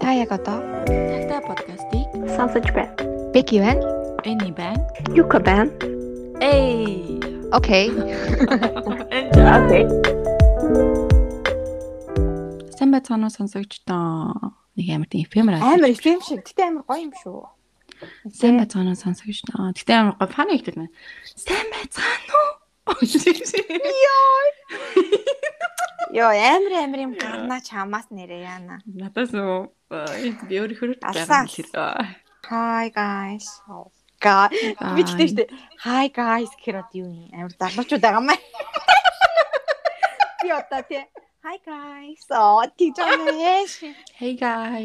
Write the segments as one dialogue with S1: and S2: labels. S1: Та яг одоо
S2: Тагтай подкастыг
S3: сонсож байна.
S1: Becky байна.
S2: Эний байна.
S3: Юка байна.
S2: Эй.
S1: Окей.
S2: Энд.
S3: Окей.
S2: Сайн байцгаана уу сонсогчдоо. Нэг амар тийм эфемер аа.
S4: Амар эфэм шиг. Гэтэ амар гоё юм шүү.
S2: Сайн байцгаана уу сонсогчдоо. Гэтэ амар гоо фан ихтэй байна. Сайн байцгаана уу?
S4: Йоо, амар амар юм гарнаа чамаас нэрээ яана.
S2: Надаас уу. Би өөрөөр
S4: Алсаа. Hi guys. Oh Га
S2: Hi.
S4: бичтэй штэ. Hi guys гэхэр одоо юу юм? Амар залуучууд байгаа маа. Би одоо тий. Hi guys. Оо, тий жааеш.
S2: Hey
S4: Би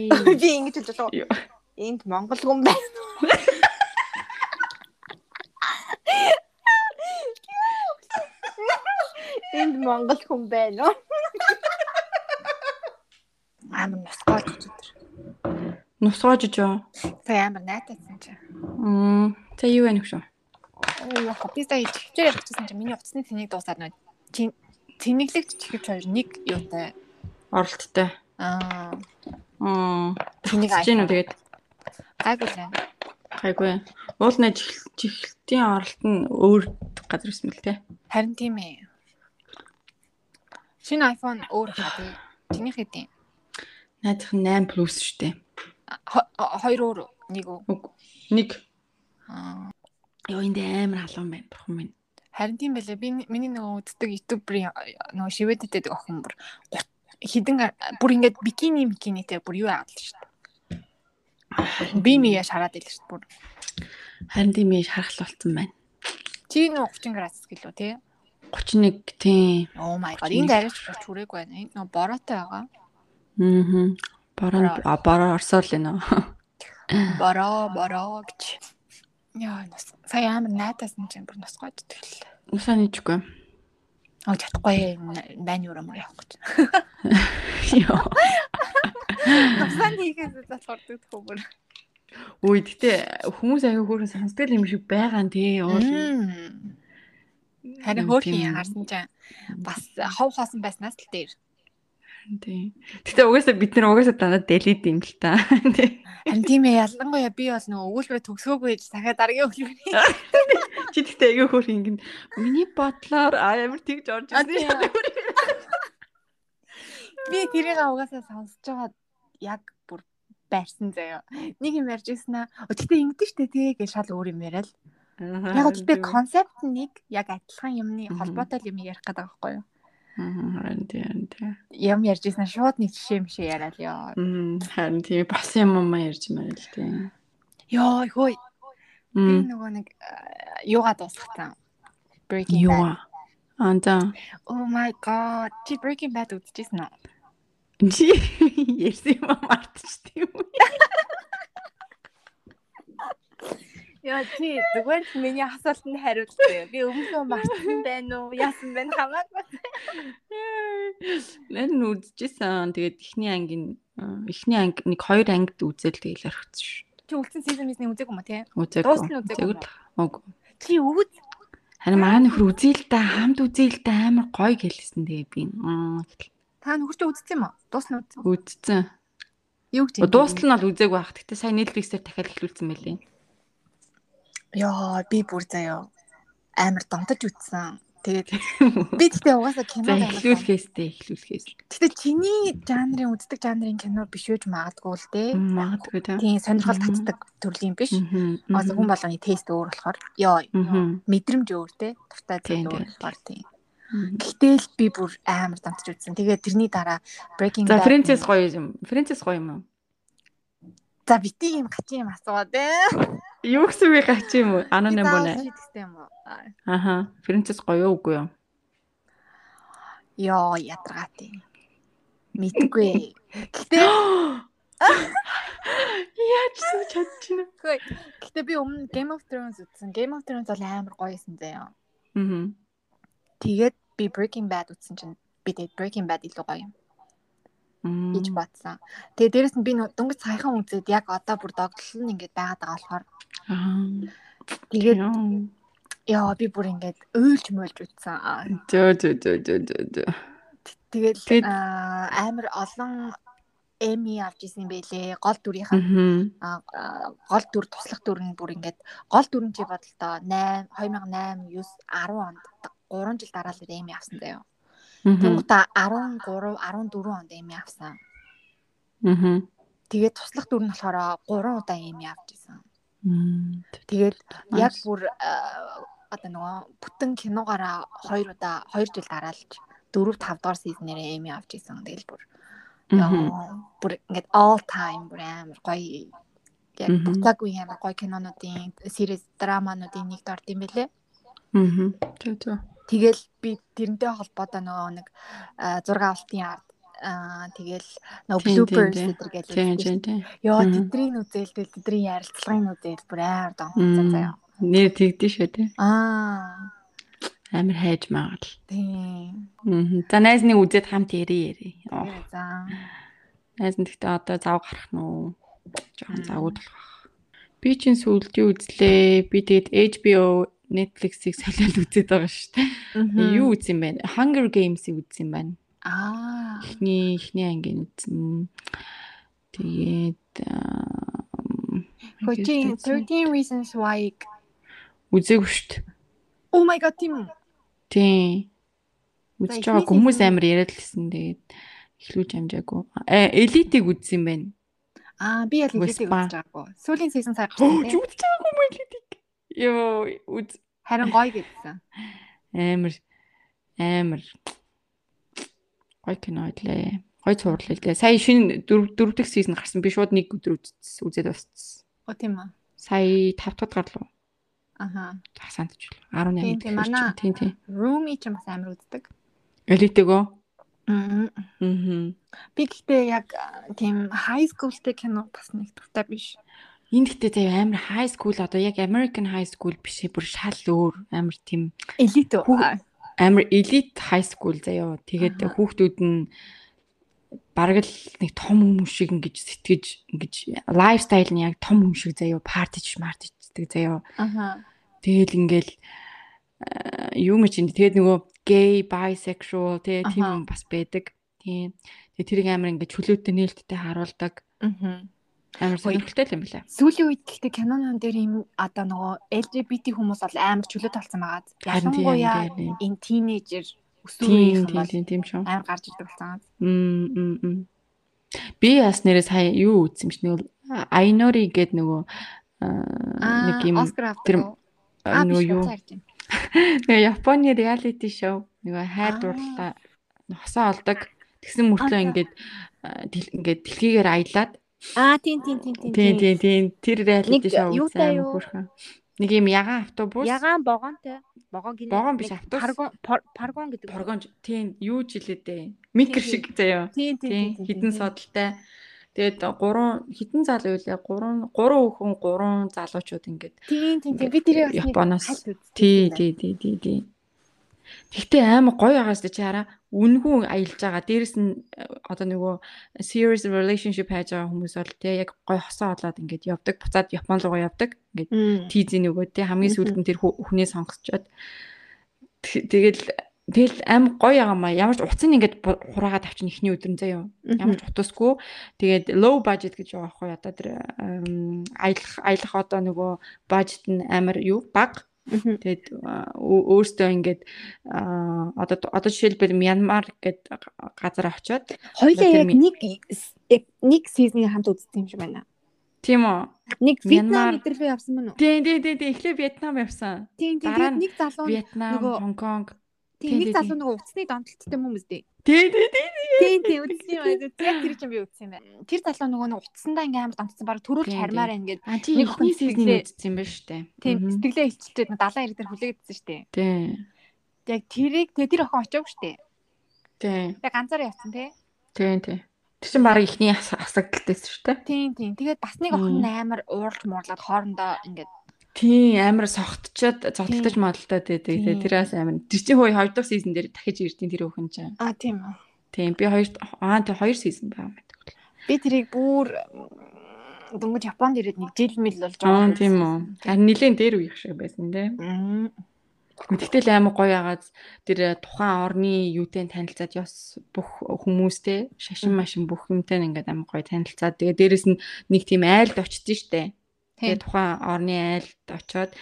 S2: guys.
S4: ингэж хэлж болов.
S2: Йоо.
S4: Энд монгол хүн байна. Энд монгол хүн байна уу? Амар нусгой ч өдөр.
S2: Нусгаж жоо.
S4: Тэ амар найтайсан чи.
S2: Мм. Тэ юу байна хөшөө?
S4: Оо хопистай хичээл явчихсан чи миний утасны тэнийг дуусаад нөө. Чи тэнэглэгч чихвч хоёр нэг юутай.
S2: Оролттой.
S4: Аа.
S2: Аа.
S4: Тэнийг
S2: Тэгж гэнэ үү тэгээд
S4: Гайгүй л байна.
S2: хайгүй. Уулны чихл- чихлтийн оролт нь өөр газар юм л те.
S4: Харин тийм ээ. Шинэ iPhone өөр хатыг. Тэнийх хэдийн.
S2: Найдах нь 8 плюс штэ.
S4: Хо- хо- Хоёр өөр нэг үү?
S2: Уг- Нэг
S4: Аа.
S2: ёо энд амар халуун байна. Бурхан минь.
S4: Харин тийм байлээ. Би н- миний нөгөө үздэг ютуберийн нөгөө шивэдэдтэй охин бүр гут- хідэн ар- бүр ингээд бикини бикинитэй бүр юу яагаад л шүү дээ. Би мий яа шараад ийл шүү дээ. бүр.
S2: Харин тийм яж харахад болсон байна.
S4: Чи нөгөө 30 градус гэлөө тий.
S2: 31 тийм.
S4: Oh my god.
S2: 31.
S4: Энд арайч хүч хүрээгүй байна. Энд нөгөө бороотой байгаа.
S2: Аа. Бараа
S4: Бороо.
S2: а, бараа орсоор л энэ.
S4: Бороо бороо гэж. Яа нас. Сая амар наатаасан чинь бүр нас гойд тэгэл.
S2: Усаа нээжгүй.
S4: Оо чадахгүй юм байна юу юм явах гэж.
S2: Ёо.
S4: Насаа нэгээс залхуурдаг хөөмөр.
S2: Үй гэтээ хүмүүс аяа хөөрхөн сонсдог л юм шиг байгаа нь тий. Уул.
S4: Харин хөөрхөн яарсан чинь бас хов хоосон байснаас л дээр.
S2: Тий. Гэтэ угаасаа бид нар угаасаа дандаа дэлид юм л та. Тий.
S4: Харин тийм ээ ялангуяа би бол нөгөө өгүүлбэр төгсөөгүй гэж дахиад дараагийн өгүүлбэрийг
S2: Чи гэтээ аяа хөөр ингэн миний бодлоор а, амар тэгж орж
S4: А,
S2: ирсэн
S4: тий.
S2: шүү дээ.
S4: би тэрийг угаасаа сонсож байгаа яг бүр байрсан заяа. Нэг юм ярьж ирсэн аа. Өтгтээ ингэдэж штэ тий гэж шал өөр юм яриад. Яг л би концепт нь нэг яг адилхан юмны
S2: Мгм.
S4: холбоотой л юм ярих гэдэг байхгүй юу?
S2: Мгм, Харин тийм тийм.
S4: Ям ярьж ирсэн шууд нэг жишээ мшээ яриад ёо.
S2: Мм, Харин тийм бас юм юм ярьж байна л тийм.
S4: Ёо хөөе би
S2: Мм,
S4: нөгөө нэг аа, юугаа дуусгацсан. Breaking Bad.
S2: Юу анта
S4: Oh my god. Чи Breaking Bad үзчихсэн үү?
S2: чи ярьсан юм мартчих тийм үү?
S4: Яа чи зүгээр л миний асуултанд хариултаа. Би өмнөө мартсан байна уу? Яасан байна хамаагүй.
S2: Нэн үзчихсэн. Тэгээд эхний ангийн аа, эхний анги нэг хоёр ангид үзэл тэгээл орхисон шүү.
S4: Чи үлдсэн season-ийг үзег юм уу те?
S2: Үзээг.
S4: Дуусна үзээгүй
S2: л. Уг.
S4: Чи үз.
S2: Харин маань нөхөр үзээл та хамт үзээл та амар гоё гэлсэн тэгээ би. Аа, гэтэл
S4: Та нөхөрч үзсэн юм уу? Дуусна үз.
S2: Үзсэн.
S4: Юу гэж юм?
S2: Дуустал нь бол үзээг байх. Гэтэ сайн нийтлэгсээр дахиад эхлүүлсэн мөлий.
S4: Яа би бүр заяа. Амар донтож үзсэн. Тэгээд би тэгтээ угаасаа кино
S2: За
S4: байна.
S2: эхлүүлэхээс тээ эхлүүлэхээс.
S4: Тэгтээ чиний жанрын үздэг жанрын кино биш үеж магадгүй л те.
S2: Магадгүй тийм.
S4: Тийм сонирхол
S2: Мгм.
S4: татдаг төрлийн биш.
S2: Мм.
S4: Бас хүн болгоны тест өөр болохоор ёо.
S2: Мгм.
S4: Мэдрэмж өөр те. Туртай
S2: Тийм, тийм.
S4: зүйл өөр болохоор тийм.
S2: Мм.
S4: Гэхдээ л би бүр амар дантж үзсэн. Тэгээ тэрний дараа Breaking
S2: За
S4: Bad.
S2: Францис гоё юм. Францис гоё юм уу?
S4: За бити юм гачи юм асууад ээ.
S2: Юу гэсэн би гач юм уу? Аноним
S4: Заавал
S2: байна.
S4: шийдэхтэй юм уу? Аа.
S2: Аха. Францис гоё уу үгүй юу?
S4: Йоо ядаргаа тийм. Мэдгүй. Гэхдээ
S2: Яаж ч чадчихна.
S4: гэхдээ би өмнө Game of Thrones үзсэн. Game of Thrones бол амар гоё юм заяа.
S2: Мм.
S4: Тэгээд би Breaking Bad үзсэн чинь би тэгээд Breaking Bad илүү гоё юм. гэж бодсон. Тэгээ дээрэс нь би нөө- дөнгөж саяхан үзээд яг одоо бүр догтлол нь ингээд байгаад байгаа болохоор
S2: Тэгээд
S4: тэгээд ёо би бүр ингээд ойлж мөлж үтсэн. Аа,
S2: Жо жо жо жо жо жо.
S4: Тэгэл
S2: Тэгээд-
S4: аа, амар олон эми авч исэн байлээ. Гол дүрийнхэн
S2: Мгм.
S4: аа, аа, гол дүр туслах дүр нь бүр ингээд гол дүр нь чи бодолтой 8 2008 9 10 онд 3 жил дараалал эми авсан заяа.
S2: Мгм.
S4: Тэнгута 13 14 онд эми авсан.
S2: Мгм.
S4: Тэгээд туслах дүр нь болохоор 3 удаа эми авч исэн.
S2: Мм.
S4: Тэгээд
S2: Nice.
S4: яг бүр аа, одоо нөгөө бүтэн киногаараа 2 удаа 2 жил дараалж 4 5 дугаар сизнэрээ эми авч исэн. Тэгэл бүр
S2: Мгм.
S4: Яа, бүр ингээд all time бүр амар гоё яг
S2: Мгм.
S4: бүтээг үе амар гоё кинонуудын series драмануудын нэгт орд юм бэлээ.
S2: Мгм. Жо жо.
S4: Тэгэл би тэрнтэй холбоотой нөгөө нэг аа, зураг авалтын арт аа тэгэл нөгөө
S2: Тийм, тийм,
S4: bloopers
S2: тийм. Жо жо
S4: гэдэр гэлээ.
S2: жо.
S4: Яа
S2: Мгм.
S4: тэдрийн үзээлдэл тэдрийн ярилцлагын үзээл бүр амар донхоцсон
S2: Мм.
S4: заяа.
S2: Нэр тэгдэж шүү дээ.
S4: Аа
S2: Амар хайж магаал.
S4: тийм.
S2: Мгм. За найз нэг үзээд хамт ярий ярий. Оо,
S4: Тэгээ заа.
S2: Найз нь гэхдээ одоо зав гарах нь уу? Жохон
S4: Мм.
S2: завгүй болох. Би чинь сүүлдээ үзлээ. Би тэгээд HBO Netflix-ийг солиод үзээд байгаа шүү дээ. Юу үзсэн бэ? Hunger Games-ийг үзсэн байна.
S4: Аа.
S2: Эхний эхний ангийн үзсэн. Тэгээд ам,
S4: Хожийн 13 reasons why
S2: үзээгүй шүү дээ.
S4: Oh my god тийм үү?
S2: Тий. Үзэж
S4: эхний
S2: байгаа хүмүүс
S4: сезон-
S2: амар яриад л хэлсэн. Тэгээд эхлүүлж амжаагүй. Э, Elite-ийг үзсэн байна.
S4: Аа би яг
S2: Үгүй,
S4: хэлээд
S2: спа.
S4: үзэж байгаагүй. Сүүлийн сезон цаг
S2: Хөөж
S4: гарсан.
S2: үзэж байгаагүй юм Elite-ийг. Йоо, үз
S4: Харин гоё гэдсэн.
S2: амар амар гой кино хэлээ. Гой цуврал хэлээ. Сая шинэ дөрв дөрөв дэх сизон гарсан. Би шууд нэг өдөр үзсэн. Үзээд босцсон.
S4: Оо тийм аа.
S2: Сая 5 дахь гар лу.
S4: Аха.
S2: Хасанд ч лу. 18
S4: Тийм,
S2: дэх.
S4: тийм, манай.
S2: Тийм тийм.
S4: Roomy ч юм бас амар үздэг.
S2: Элитэгөө.
S4: Аа.
S2: Аа.
S4: Би гэхдээ яг аа, тийм high school-тэй кино бас нэг тухтай биш.
S2: Энд гэдэг заяа амар high school одоо яг American high school биш ээ, бүр шал өөр амар тийм
S4: Elite үү?
S2: Хүү- амар элит high school заяо.
S4: Аха.
S2: Тэгээд хүүхдүүд нь бараг л нэг том хүмүүс шиг ингэж сэтгэж ингэж лайфстайл нь яг том хүмүүс шиг заяо, партич мартичдаг заяо.
S4: Аха.
S2: Тэгэл ингээл э, аа, юм чинь тэгээд нөгөө gay, bisexual тэгээд тийм
S4: Аха.
S2: юм бас байдаг. Тийм. Тэгээд тэрийг амар ингэж чөлөөтэй нээлттэй харуулдаг.
S4: Аа.
S2: Амар
S4: Ой.
S2: сонирхолтой л юм байна.
S4: Сүүлийн үед гэхдээ кинонон дээр ийм одоо нөгөө LGBT хүмүүс бол амар чөлөөт болсон байгаа.
S2: Харин тийм,
S4: Ялангуяа
S2: тийм, тийм.
S4: энэ teenager
S2: Тийм,
S4: өсвөрийнхэн
S2: тийм,
S4: бол
S2: тийм, тийм шүү.
S4: амар гарч ирдэг болсон.
S2: Мм, мм, мм. Би бас нэрээ сая юу үзсэн биш нэг Айнори гэдэг нөгөө аа, нэг юм
S4: Оскар
S2: тэр
S4: авдаг.
S2: аа, нөгөө юу
S4: юу?
S2: нөгөө Японы reality show нөгөө хайр
S4: Аа.
S2: дурлалаа хосоо олдог тэгсэн мөртлөө
S4: Аа.
S2: ингээд аа, дэл- ингээд дэлхийгээр аялаад
S4: Аа тийм тийм тийм тийм.
S2: тийм тийм тийм тэр reality
S4: Нэг
S2: show
S4: юутай
S2: үзсэн
S4: юу?
S2: хөөрхөн нэг юм ягаан автобус
S1: Ягаан богонтой. Богоо гинэ.
S2: Богоон биш, автобус.
S1: Паргон пар- паргон гэдэг.
S2: торгонж тийм юу жилэдэ микр
S1: Тийм,
S2: шиг заяа
S4: Тийм
S2: тий хідэн содалтай тэгээд гурван хідэн залуу үлээ гурван гурван хүн гурван залуучууд ингээд
S4: Тийм тийм тийм. Би тэрийг бас нэг
S2: Японоос.
S4: хальт үзсэн
S2: тий
S4: юм байна.
S2: тий тий тий тий Тэгтээ амар гоё байгаас чи хараа үнгүүн аялж байгаа. Дээрэс нь э, одоо нөгөө serious relationship хайж байгаа хүмүүс бол тий яг гоё хосоо олоод ингээд явдаг. Буцаад Япон руугаа явдаг. Ингээд
S4: Мм.
S2: тийзийн нөгөө тий хамгийн
S4: Мгм.
S2: сүүлд нь тэр хүү- хүнээ сонгосчоод тэг- тэгэл тэгэл аим гоё ягаамаа ямар ч утас нь ингээд бу- хураагаад авчин ихний өдөр нь заяа ямар ч утасгүй тэгээд low budget гэж байгаа байхгүй одоо тэр ам, аялах аялах одоо нөгөө budget нь амар юу бага
S4: Мгм.
S2: Тэгээд а, өө- өөртөө ингээд а, одоо одоо жишээлбэл Мьянмар гэдэг газар очиод
S4: Хоёлаа
S2: Тэр
S4: яг
S2: ми-
S4: нэг яг нэг сизний хамт үзсэн юм шиг байна.
S2: тийм үү
S4: Нэг
S2: Мьянмар.
S4: Вьетнам мэдрэлөө явсан мөн үү?
S2: тий тий тий тий эхлээ Вьетнам явсан
S4: Тийм тийм
S2: Дараа
S4: тийм
S2: нь
S4: нэг залуу
S2: Вьетнам
S4: нөгөө-
S2: Хонконг
S4: тийм нэг
S2: тий, тий.
S4: залуу нөгөө уцсны донтолттой хүмүүс дээ.
S2: тий тий тий
S4: Тийм тийм үзсэн юм байна. Яг тэр чинь би үзсэн юм байна. Тэр залуу нөгөө нэг уцсандаа ингээм амар донтсон баг төрүүлж
S2: Тийм,
S4: хармаар ингээд
S2: А чи
S4: Нэг
S2: ихний
S4: хүн
S2: сизнийг
S4: сэтгэлээ-
S2: үзсэн байх шүү дээ.
S4: тийм
S2: Мгм.
S4: сэтгэлээ хилчилчихэд нөгөө далайн ирэх дээр хүлээгдсэн шүү дээ.
S2: Тий.
S4: Яг тэрийг тэгээ тэр охин очиог шүү дээ.
S2: Тий.
S4: Тэгээ ганцаараа явсан тий.
S2: Тий, тий. Тэр чинь баг ихний ас- асуудалтайсэн шүү дээ.
S4: Тийм тийм. Тэгээд бас нэг охин амар уурлж муурлаад хоорондоо ингээд
S2: Тий, амар согтчоод зодтолтож
S4: Тий.
S2: модтолтоод байдаг.
S4: Тий.
S2: Тэр бас амар. Тэр чинь хөөе 2 дахь сизон дээр дахиж ирдیں۔ Тэр өхөн чинь.
S4: аа тийм үү.
S2: Тийм би хоёр аа тийм хоёр season байгаа юм байна.
S4: Би тэрийг бүр м, дөнгөж Японд ирээд нэг жил мэл болж
S2: Аа
S4: юм
S2: тийм
S4: байна.
S2: үү. Харин нилийн дээр үеих шиг байсан тийм.
S4: Мм.
S2: Тэгтэл амар гоё агаад тэр э, тухайн орны юутэй танилцаад ёс бүх хүмүүстэй шашин машин бүх юмтай ингээд амар гоё танилцаад тэгээ дээрэс нь нэг тийм айлд очсон штэ. Тэгээ тухайн орны айлд очоод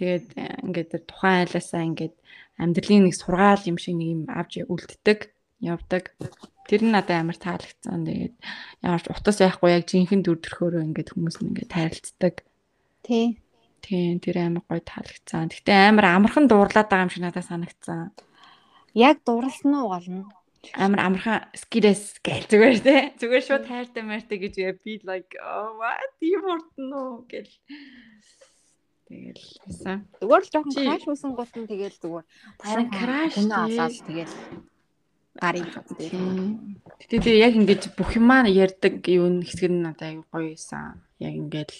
S2: тэгээд э, ингээд тэр тухайн айлаасаа ингээд амьдралын нэг сургаал юм шиг нэг юм авч үлддэг, явдаг. Тэр нь надад амар таалагдсан. Тэгээд ямар ч утас байхгүй яг жинхэнэ дүр төрхөөрөө ингээд хүмүүс нь ингээд тарилцдаг.
S4: Тий.
S2: Тийм, тэр амар гоё таалагдсан. Гэтэ амар амархан дуурлаад байгаа юм шиг надад санагдсан.
S4: Яг дурлсан уу голно.
S2: Амар амархан skides гэл зүгээр те. Зүгээр шууд хайртай маятай гэж яа, би like oh what юм уртна уу гэл. Тэгэл хасан.
S4: Зүгээр л жоохон
S2: Чи-
S4: краш үсэн гут нь тэгэл зүгээр.
S2: Харин краш тий.
S4: Үнэ аваад тэгэл гарыг тий.
S2: Тийм. Гэтэ тэр яг ингэж бүх юм аа ярьдаг юу н хэсэг нь надад аягүй гоё байсан. Яг ингээл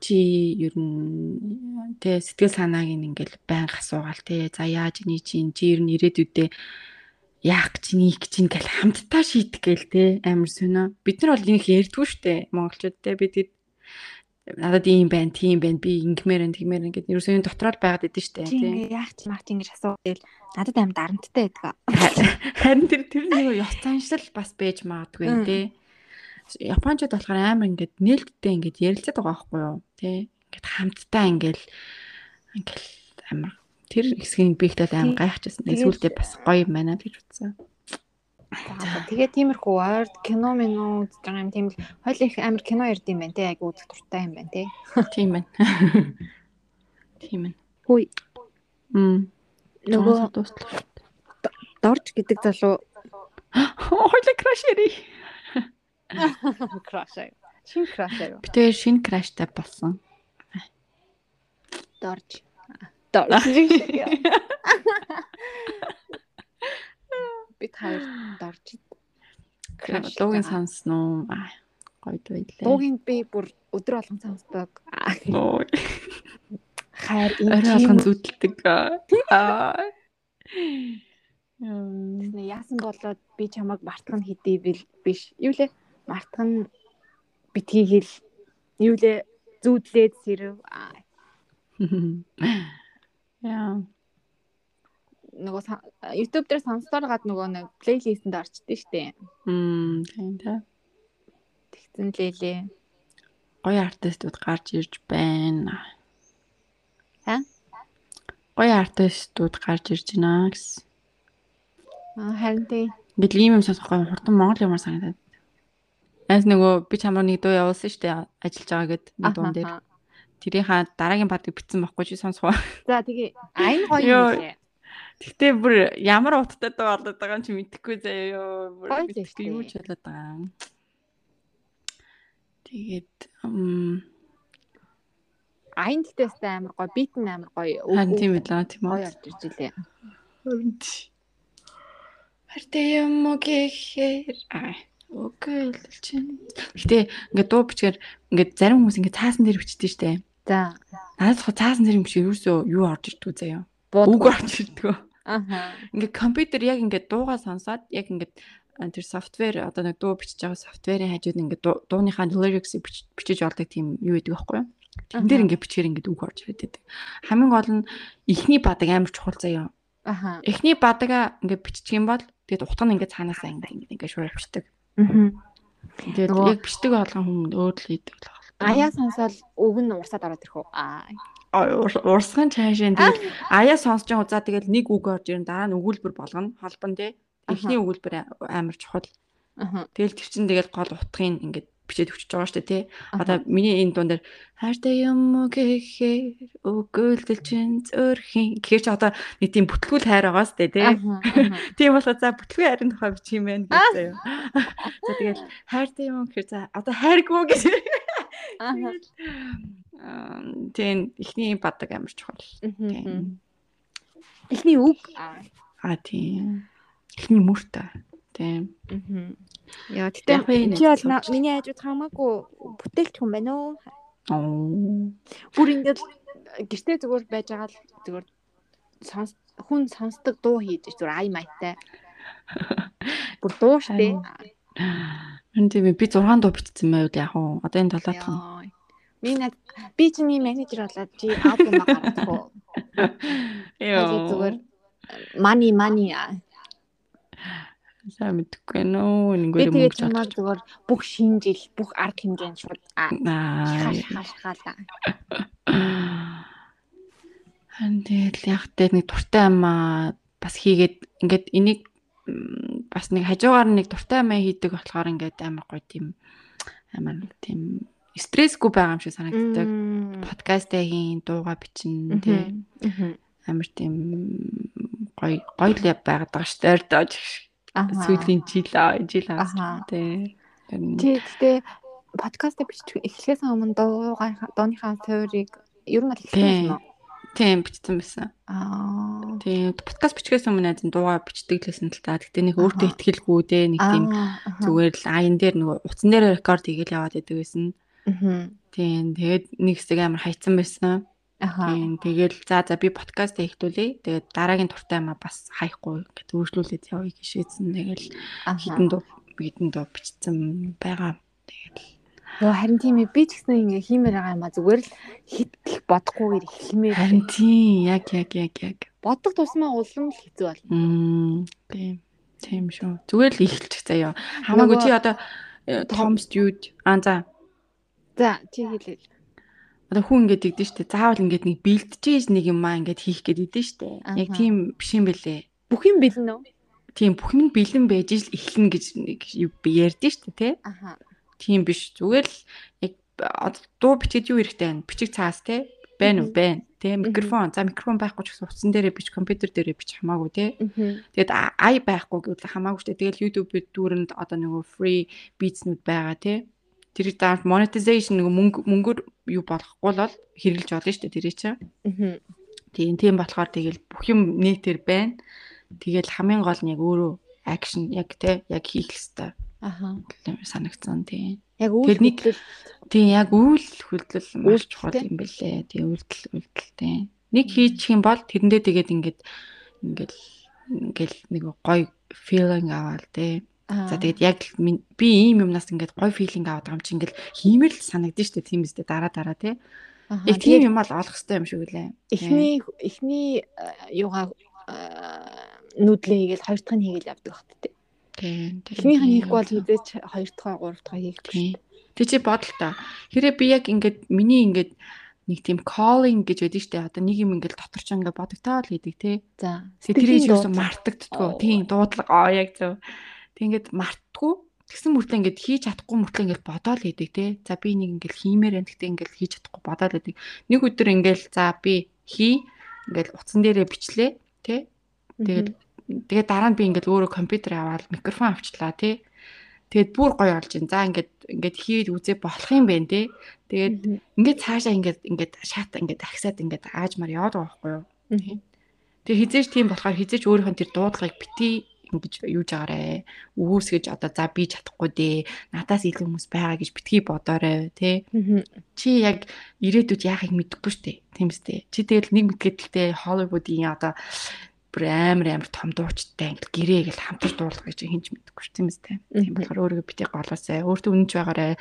S2: чи ер нь тэ сэтгэл санааг нь ингээл байнга асуугаал тэ. За яаж ний чинь чи ер нь ирээдүйдээ яах гэж нэх гэж ингээл хамтдаа шийтгэл тэ. Амар сонио. Бид нар бол энийх ярьдгүй штэ монголчууд тэ. Бид хэд- надад ийм байна, тийм байна. Би ингэмээр энэ тэгмээр ингээд ерөөсөө энэ дотроо л байгаад идэв штэ
S4: Чи
S2: тэ.
S4: ингээ яах чи маач ингэж асуу тэгэл надад аим дарамттай байдаг.
S2: Харин тэр тэр нэг ёс заншил бас байж магадгүй
S4: Мм.
S2: тий. Японочд болохоор амар ингээд нээлттэй ингээд ярилцдаг байгаа байхгүй юу тий. Ингээд хамтдаа ингээд ингээд амар тэр хэсгийн би ихтэй амар
S4: Тий.
S2: гайхчихсан.
S4: Тэгээд-
S2: Сүүлдээ бас гоё юм байна л гэж утсан.
S4: Тэгээ тиймэрхүү ойрд кино минь үзэж байгаа юм тийм л хойл их амар кино ярд юм байна те айгу үзэх дуртай юм байна те.
S2: Тийм байна. Тийм байна.
S4: Хүй.
S2: Мм.
S4: Нөгөө
S2: Цонхоо дуустлаа.
S4: Дорж гэдэг залуу
S2: Хойло краш яри.
S4: краш аа. Шин краш аа.
S2: Би тэр шинэ краштай болсон.
S4: Дорж. Дорж. Би таар дорж. Crush
S2: Дуугийн
S4: байгаа.
S2: сонсноо. Аа, Гоё байлаа.
S4: Дуугийн би бүр өдөр болгон сонсдог. Аа,
S2: Дуугийн
S4: Хайр
S2: Орой алган
S4: интим
S2: зүтэлдэг. Аа. Мм.
S4: гэснэ яасан болоод би чамайг мартах нь хэдий бил- биш. Юу лээ? Мартах нь битгий хэл. Юу лээ? Зүудлээд сэрв. Аа,
S2: Яа.
S4: Нөгөө сон- YouTube дээр сонсдоор гад нөгөө нэг плейлистэнд орчдээ штэ.
S2: Мм, тийм та.
S4: Тэгсэн лээ.
S2: Гоё артистууд гарч ирж байна.
S4: Ха?
S2: Гоё артистууд гарч ирж байна гэсэн.
S4: Аа, Харин тий.
S2: Ингээд ийм юм сонсохгүй хурдан монгол юмар санагдаад. Аас нөгөө би чамруу нэг дуу явуулсан шүү дээ ажиллаж байгаа гэд нэг дуун дээр.
S4: Ахаха.
S2: Тэрийн ха дараагийн бадыг битсэн байхгүй чи сонсох.
S4: За тэгээ айн гоё
S2: Йоо.
S4: юм лээ.
S2: Гэтэ бүр ямар уттай дуу болоод байгаа юм чи мэдэхгүй заяа ёо. Бүр
S4: Гоё л
S2: бид
S4: ихтэй.
S2: юу ч болоод байгаа юм. Тэгээд ам,
S4: Айн дэхтэйстэй амар гоё, бит нь амар гоё. Өв-
S2: харин
S4: өв-
S2: тийм байлаа тийм үү?
S4: гоё орж ирж илээ.
S2: Хартаа юм уу гэхээр аа окей л чинь. Гэтэ ингээд дуу бичгээр ингээд зарим хүмүүс ингээд цаасан дээр бичдэг штэ.
S4: За.
S2: Надад тухай цаасан дээр юм чи ерөөсөө юу орж ирдгүү заяа.
S4: бууд-
S2: Үг орж ирдгүү.
S4: Аха.
S2: ингээд компьютер яг ингээд дуугаа сонсоод яг ингээд а, тэр софтвер одоо нэг дуу бичиж байгаа софтверийн хажууд нь ингээд дуу- дууныхаа lyrics-ийг бич- бичиж олдог тийм юу гэдэг байхгүй юу? Тэн дээр
S4: Аха.
S2: ингээд бичгээр ингээд үг орж ирээд байдаг. Хамгийн гол нь эхний бадаг амар чухал заяа.
S4: Аха.
S2: Эхний бадага ингээд бичих юм бол тэгээд утга нь ингээд цаанаасаа ингээд ингээд ингээд шуурвчдаг. Тэгээд
S4: Нөгөө-
S2: яг бичдэг болгон хүмүүс өөр л хийдэг л байна.
S4: Аяа сонсоод үг нь урсаад ороод ирэх үү? Аа.
S2: Ой, ур- урсган чаашаа тэгээд аяа сонсож байгаа удаа тэгээд нэг үг орж ирэн дараа нь өгүүлбэр болгоно. Холбон тий. Эхний өгүүлбэр а- амар чухал.
S4: Аха.
S2: Тэгэл тэр чинь тэгэл гол утгыг ингээд бичээд өчөж байгаа шүү дээ тий. Одоо миний энэ дуун дээр хайртай юм уу гэхээр өгөөлдөл чинь зөөрхийн гэхээр чи одоо нэг тийм бүтлгүүл хайр байгаа шүү дээ тий.
S4: Аха. аха.
S2: Тийм болоо за бүтлгүй харин тухай бичих юм байна гэсэн юм. За тэгэл хайртай юм гэхээр за одоо хайргүй гэж.
S4: Аха.
S2: Аа, Тийм эхний бадаг амар чухал.
S4: Мгм.
S2: Тийм.
S4: Эхний үг. Аа.
S2: Аа тийм. Эхний мөртөө. Тийм.
S4: Мгм. Яа,
S2: Яг би
S4: тэгтээ
S2: нэг
S4: чи бол на-
S2: сонсож-
S4: миний хажууд хамаагүй бүтээлч хүн байна уу?
S2: Оо.
S4: Бүр ингээд гэртээ зүгээр байж байгаа л зүгээр сонс хүн сонсдог дуу хийж зүгээр ай майтай.
S5: бүр дууштай.
S2: Харин тийм ээ, би 6 дуу битсэн байв яг уу. Одоо энэ талаадах нь.
S4: Яа. Би над би чиний менежер болоод чи аалбум гаргадаг уу? Яа. Зүгээр money money аа.
S2: сайн мэдгүй нөө нэггүй
S4: Би
S2: юм
S4: тэгээд
S2: өгч
S4: чамаар зүгээр бүх шинэ жил, бүх арга хэмжээнд шууд аа,
S2: Аа.
S4: шахаа шахаа шахаа.
S2: Хантэл яг дээр нэг дуртай амаа бас хийгээд ингээд энийг м, бас нэг хажуугаар нэг дуртай амаа хийдэг болохоор ингээд амар гоё тийм амар нэг тийм стрессгүй байгаа юм шиг санагддаг. Подкастаа хийн, дуугаа бичин тий амар тийм гоё гоё л байгаад байгаа шүү дээ. Ордож сүүлийн жил аа, жил аа
S4: Аха.
S2: тий.
S4: Тий, гэтээ подкаст бичиж эхлэхээс өмнө дуугаа дууныхаа суурийг ер нь л
S2: Тий.
S4: эхэлсэн юм уу?
S2: Тийм бичсэн байсан.
S4: Аа.
S2: Тийм подкаст бичгээс өмнө айзан дуугаа бичдэг лсэн л та. Гэтэ нэг өөртөө
S4: Аха.
S2: ихтгэлгүй дээ нэг тийм зүгээр л аян дээр нөгөө утсан дээр рекорд хийгээл яваад байдаг байсан.
S4: зүгээр.
S2: Тийм тэгээд нэг хэсэг амар хайцсан байсан.
S4: Аха.
S2: Тийм тэгэл за за би подкаст эхлүүлээ. Тэгээд дараагийн туртай маа бас хаяхгүй ингээд өөрчлүүлээд явъя гişээдсэн. Тэгэл
S4: аха.
S2: хитэн дуу хитэн дуу бичсэн байгаа. Тэгэл
S4: Йоо харин тийм ээ би ч гэсэн ингээ хиймээр байгаа юм а зүгээр л хитгэл бодохгүйгээр эхлэмээр
S2: харин тийм яг яг яг яг.
S4: бодох тусмаа улам л хэцүү болно.
S2: Мм тийм тийм шүү. Зүгээр л эхэлчих заяа. Хамаагүй
S4: Нөгөө-
S2: чи одоо э, том студид аа за
S4: За чи хэлээл.
S2: одоо хүн ингээд идэж штэ заавал ингээд нэг бэлтжиж нэг юмаа ингээд хийх гээд идэж штэ яг
S4: Аха.
S2: тийм биш юм бэлээ
S4: Бүх юм бэлэн үү?
S2: тийм бүхэн бэлэн байж л эхлэн гэж нэг юу би ярьдээ штэ те
S4: Аха.
S2: тийм биш зүгээр л яг одоо дуу бичгээд юу хэрэгтэй байна бичиг цаас те байна уу
S4: Мгм.
S2: байна те микрофон за микрофон байхгүй ч гэсэн утсан дээрээ бич компьютер дээрээ бич хамаагүй те
S4: Мгм.
S2: Тэгэд а- ай байхгүй гэвэл хамаагүй шүү дээ. Тэгэл YouTube-д дүүрэнд одоо нөгөө free beats-нүүд байгаа тий. Тэр даа monetization нөгөө мөнгө мөнгөөр юу болохгүй л бол хэрэглэж болно шүү дээ тэрий чинь.
S4: Мгм.
S2: Тийм тийм болохоор тэгэл бүх юм нийтээр байна. Тэгэл хамгийн гол нь яг өөрөө action яг тий яг хийх хэрэгтэй
S4: Аха.
S2: юм санагдсан тий.
S4: Яг үйл
S2: Тэгэл нэг-
S4: хөдлөл.
S2: Тийм яг үйл хөдлөл маш
S4: Үйлдэл,
S2: чухал
S4: тий.
S2: юм бэлээ. Тийм үйлдэл үйлдэл тийм. Нэг хийчих юм бол тэрэндээ тэгээд ингээд ингээл ингээл нэг гоё feeling аваад тий. За тэгээд яг л минь- би ийм юмнаас ингээд гоё feeling аваад байгаа юм чи ингээл хиймэр л санагдаж штэ тийм үстэ дараа дараа тий. Яг тийм юм бол олох хэвээр юм шиг үлээ.
S4: эхний эхний э, юугаа э, нүдлээ хийгээл хоёр дахь нь хийгээл явдаг багт те.
S2: Тийм.
S4: Эхнийх нь хийхгүй бол хэзээч хоёр дахь, гурав дахь хийхгүй.
S2: тий. Тэг чи бодол та. Хэрэ би яг ингээд миний ингээд нэг тийм calling гэж байдаг штэ. Одоо нэг юм ингээд дотор ч ингээд бодогтаал хийдэг тий.
S4: За.
S2: Сэтгэлийн
S4: Сэтгэлийн
S2: дуусан
S4: дуудлага.
S2: мартагддгүй.
S4: Оо.
S2: Тийм дуудлага аа яг зөв. Тэг ингээд мартдаггүй. Тэгсэн мөртлөө ингээд хийж чадахгүй мөртлөө ингээд бодоол хийдэг те. За би нэг ингээд хиймээр байна. Гэтэ ингээд хийж чадахгүй бодоол хийдэг. Нэг өдөр ингээд за би хий ингээд утсан дээрээ бичлээ те. Тэгээд тэгээд дараа нь би ингээд өөрөө компьютер аваад микрофон авчлаа те. Тэгээд бүр гоё олж ин. За ингээд ингээд хийд үзээ болох юм байна те. Тэгээд
S4: Мгм.
S2: ингээд цаашаа ингээд ингээд шаата ингээд ахсаад ингээд аажмаар яваад байгаа байхгүй юу?
S4: Мгм.
S2: Тэгээ хизээч тийм болохоор хизээч өөрийнхөө тэр дуудлагыг бити ингэж юуж агараа. Өвөөсгэж одоо за би чадахгүй дээ. Надаас илүү хүмүүс байгаа гэж битгий бодоорой тий.
S4: Мгм.
S2: Чи яг ирээдүйд яахыг мэдэхгүй штэ. Тэмстэй. Чи тэгэл нэг мэдгэдэлтэй Холливуудын одоо бүр амар амар том дуучтай ингээл гэрээ гэл хамтар дуулах гэж хинч мэдэхгүй штэ. Тэмстэй. Тийм
S4: Мгм.
S2: болохоор өөрийгөө бити голоосай. Өөртөө үнэнч байгаарай.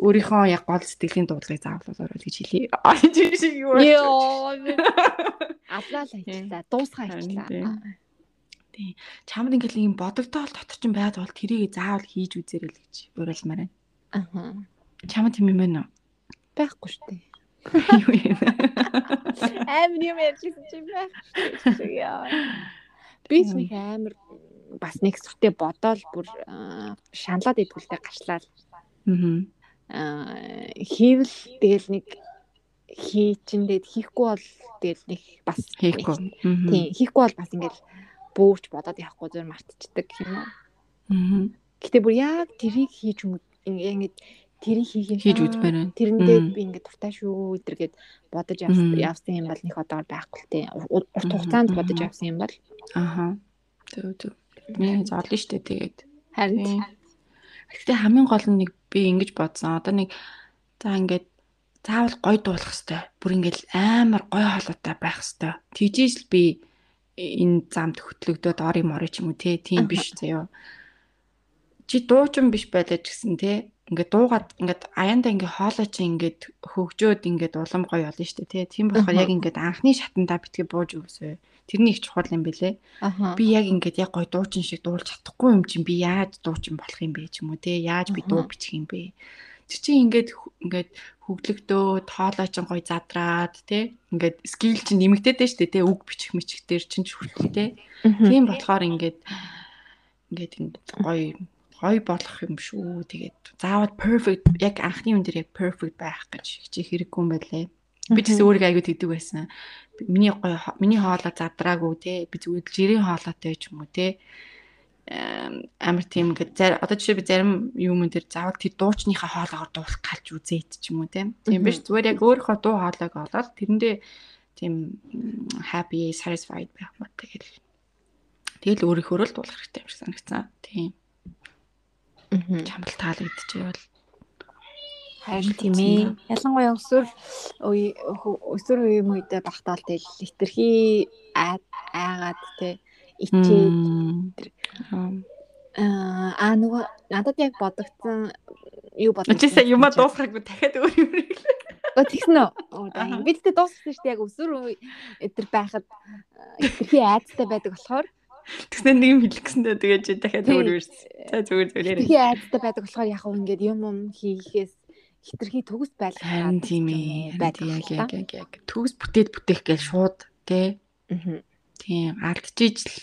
S2: Өөрийнхөө яг гол сэтгэлийн дуудлагыг заавлуулаарай гэж хэлий. Аа чи шиг юу вэ?
S4: Йоо. Адлаа л ажиллаа. Дуусгаа
S2: Харин
S4: ажиллаа.
S2: тийм. чамд ингээл юм бодогдоол дотор чинь байгаад бол тэрийг заавал хийж үзээрэй л гэж уриалмаар байна.
S4: Аа.
S2: Чамд тийм юм байна уу?
S4: Байхгүй шүү дээ.
S2: Юу юм?
S4: Амар юм ярьчихсан чи байхгүй. Яа. Би ч нэг амар бас нэг зүгтээ бодоол бүр аа, шаналаад идэвхтэй гашлаа л.
S2: Аа.
S4: Аа, хийвэл тэгэл нэг хийчиндээ хийхгүй бол тэгэл нэг бас
S2: Хийхгүй. Аа.
S4: Тийм, хийхгүй бол бас ингээл бөөгч бодоод явахгүй зур мартчихдаг юм уу.
S2: Аа.
S4: Гэтэ бүр яг тэрийг хийж юм ингээ ингээд тэрийг хийх юм.
S2: Хийж
S4: аа,
S2: үзмээр байна.
S4: Тэрэндээ
S2: Мм.
S4: би ингээ дуртай шүү өдргээд бодож
S2: Мм.
S4: явсан явсан юм бол нэг одоор байхгүй л тийм. Урт урт
S2: Мм,
S4: хугацаанд бодож
S2: мм.
S4: явсан юм бол
S2: Аха. Төв төв. Миний зорлоо штэ тэгээд.
S4: харин
S2: Гэтэ хамгийн гол нь нэг би ингэж бодсон. Одоо нэг за ингээд заавал гой дуулах хэвээр. Бүр ингээд амар гой хоолойтой байх хэвээр. Тэгжээж л би энэ замд хөтлөгдөд ори мори ч юм уу те. Тийм
S4: Аха.
S2: биш заяо. чи дуучин биш байлаа ч гэсэн те ингээд дуугаад ингээд аяндаа ингээд хоолой чи ингээд хөгжөөд ингээд улам гоё болно шүү дээ те тийм болохоор яг ингээд анхны шатандаа битгий бууж өгсөй тэрний их чухал юм бэлээ
S4: Аха.
S2: би яг ингээд яг гоё дуучин шиг дуулж чадахгүй юм чинь би яаж дуучин болох юм бэ ч юм уу те яаж би дуу бичих юм бэ тэр чинь ингээд хө- ингээд хөглөгдөө тоолоо чинь гоё задраад те ингээд скил чинь нэмэгдээд байж штэ те үг бичих мэчих дээр чинь ч хүртэл те тийм болохоор ингээд ингээд ингээд гоё гоё болох юм шүү тэгээд заавал perfect яг анхны юм дээр яг perfect байх гэж хичээх хэрэггүй юм байлээ би ч гэсэн өөрийгөө аягүй тэгдэг байсан миний гоё хо- миний хоолоо задраагүй те би зүгээр л жирийн хоолойтой ч юм уу те эм, амар тийм ингээд зар одоо жишээ би зарим юм дээр заавал тэр дуучныхаа хоолоогоор дуулах галж үзээд ч юм уу тийм тийм биш зүгээр яг өөрийнхөө дуу хоолойг олоод тэрэндээ тийм м, happy satisfied байх мод тэгэл тэгэл өөрийнхөө л дуулах хэрэгтэй юм шиг санагцсан тийм
S4: Мгм.
S2: чамд таалагдчихвэл
S4: Харин тийм ээ. Ялангуяа өсвөр үе хө- өсвөр үе юм үедээ багтаал тэл хитрхи айгаад те ичээд
S2: Мм. Ам.
S4: аа Э, аа, нөгөө надад яг бодогдсон юу бодогдсон.
S2: Өчигсээ юмаа дуусгаагүй дахиад өөр юм хэрэглээ.
S4: Оо тэгсэн үү? Оо
S2: Аха.
S4: даа. Би тэгтээ дууссан шүү дээ яг өсвөр үе өдр байхад аа, хитрхи айцтай байдаг болохоор
S2: Тэгснэ нэг юм хэлгэсэндээ тэгээд чи дахиад
S4: Тийм.
S2: өөр өрс. За зүгээр зүгээр.
S4: хитрхи айцтай байдаг болохоор яг хөө ингээд юм юм хийхээс хитрхи төгс байлгах
S2: Харин тийм ээ.
S4: байдаг
S2: Яг яг яг яг. Төгс бүтээд бүтээх гэж шууд тий. Тийм алдчихж л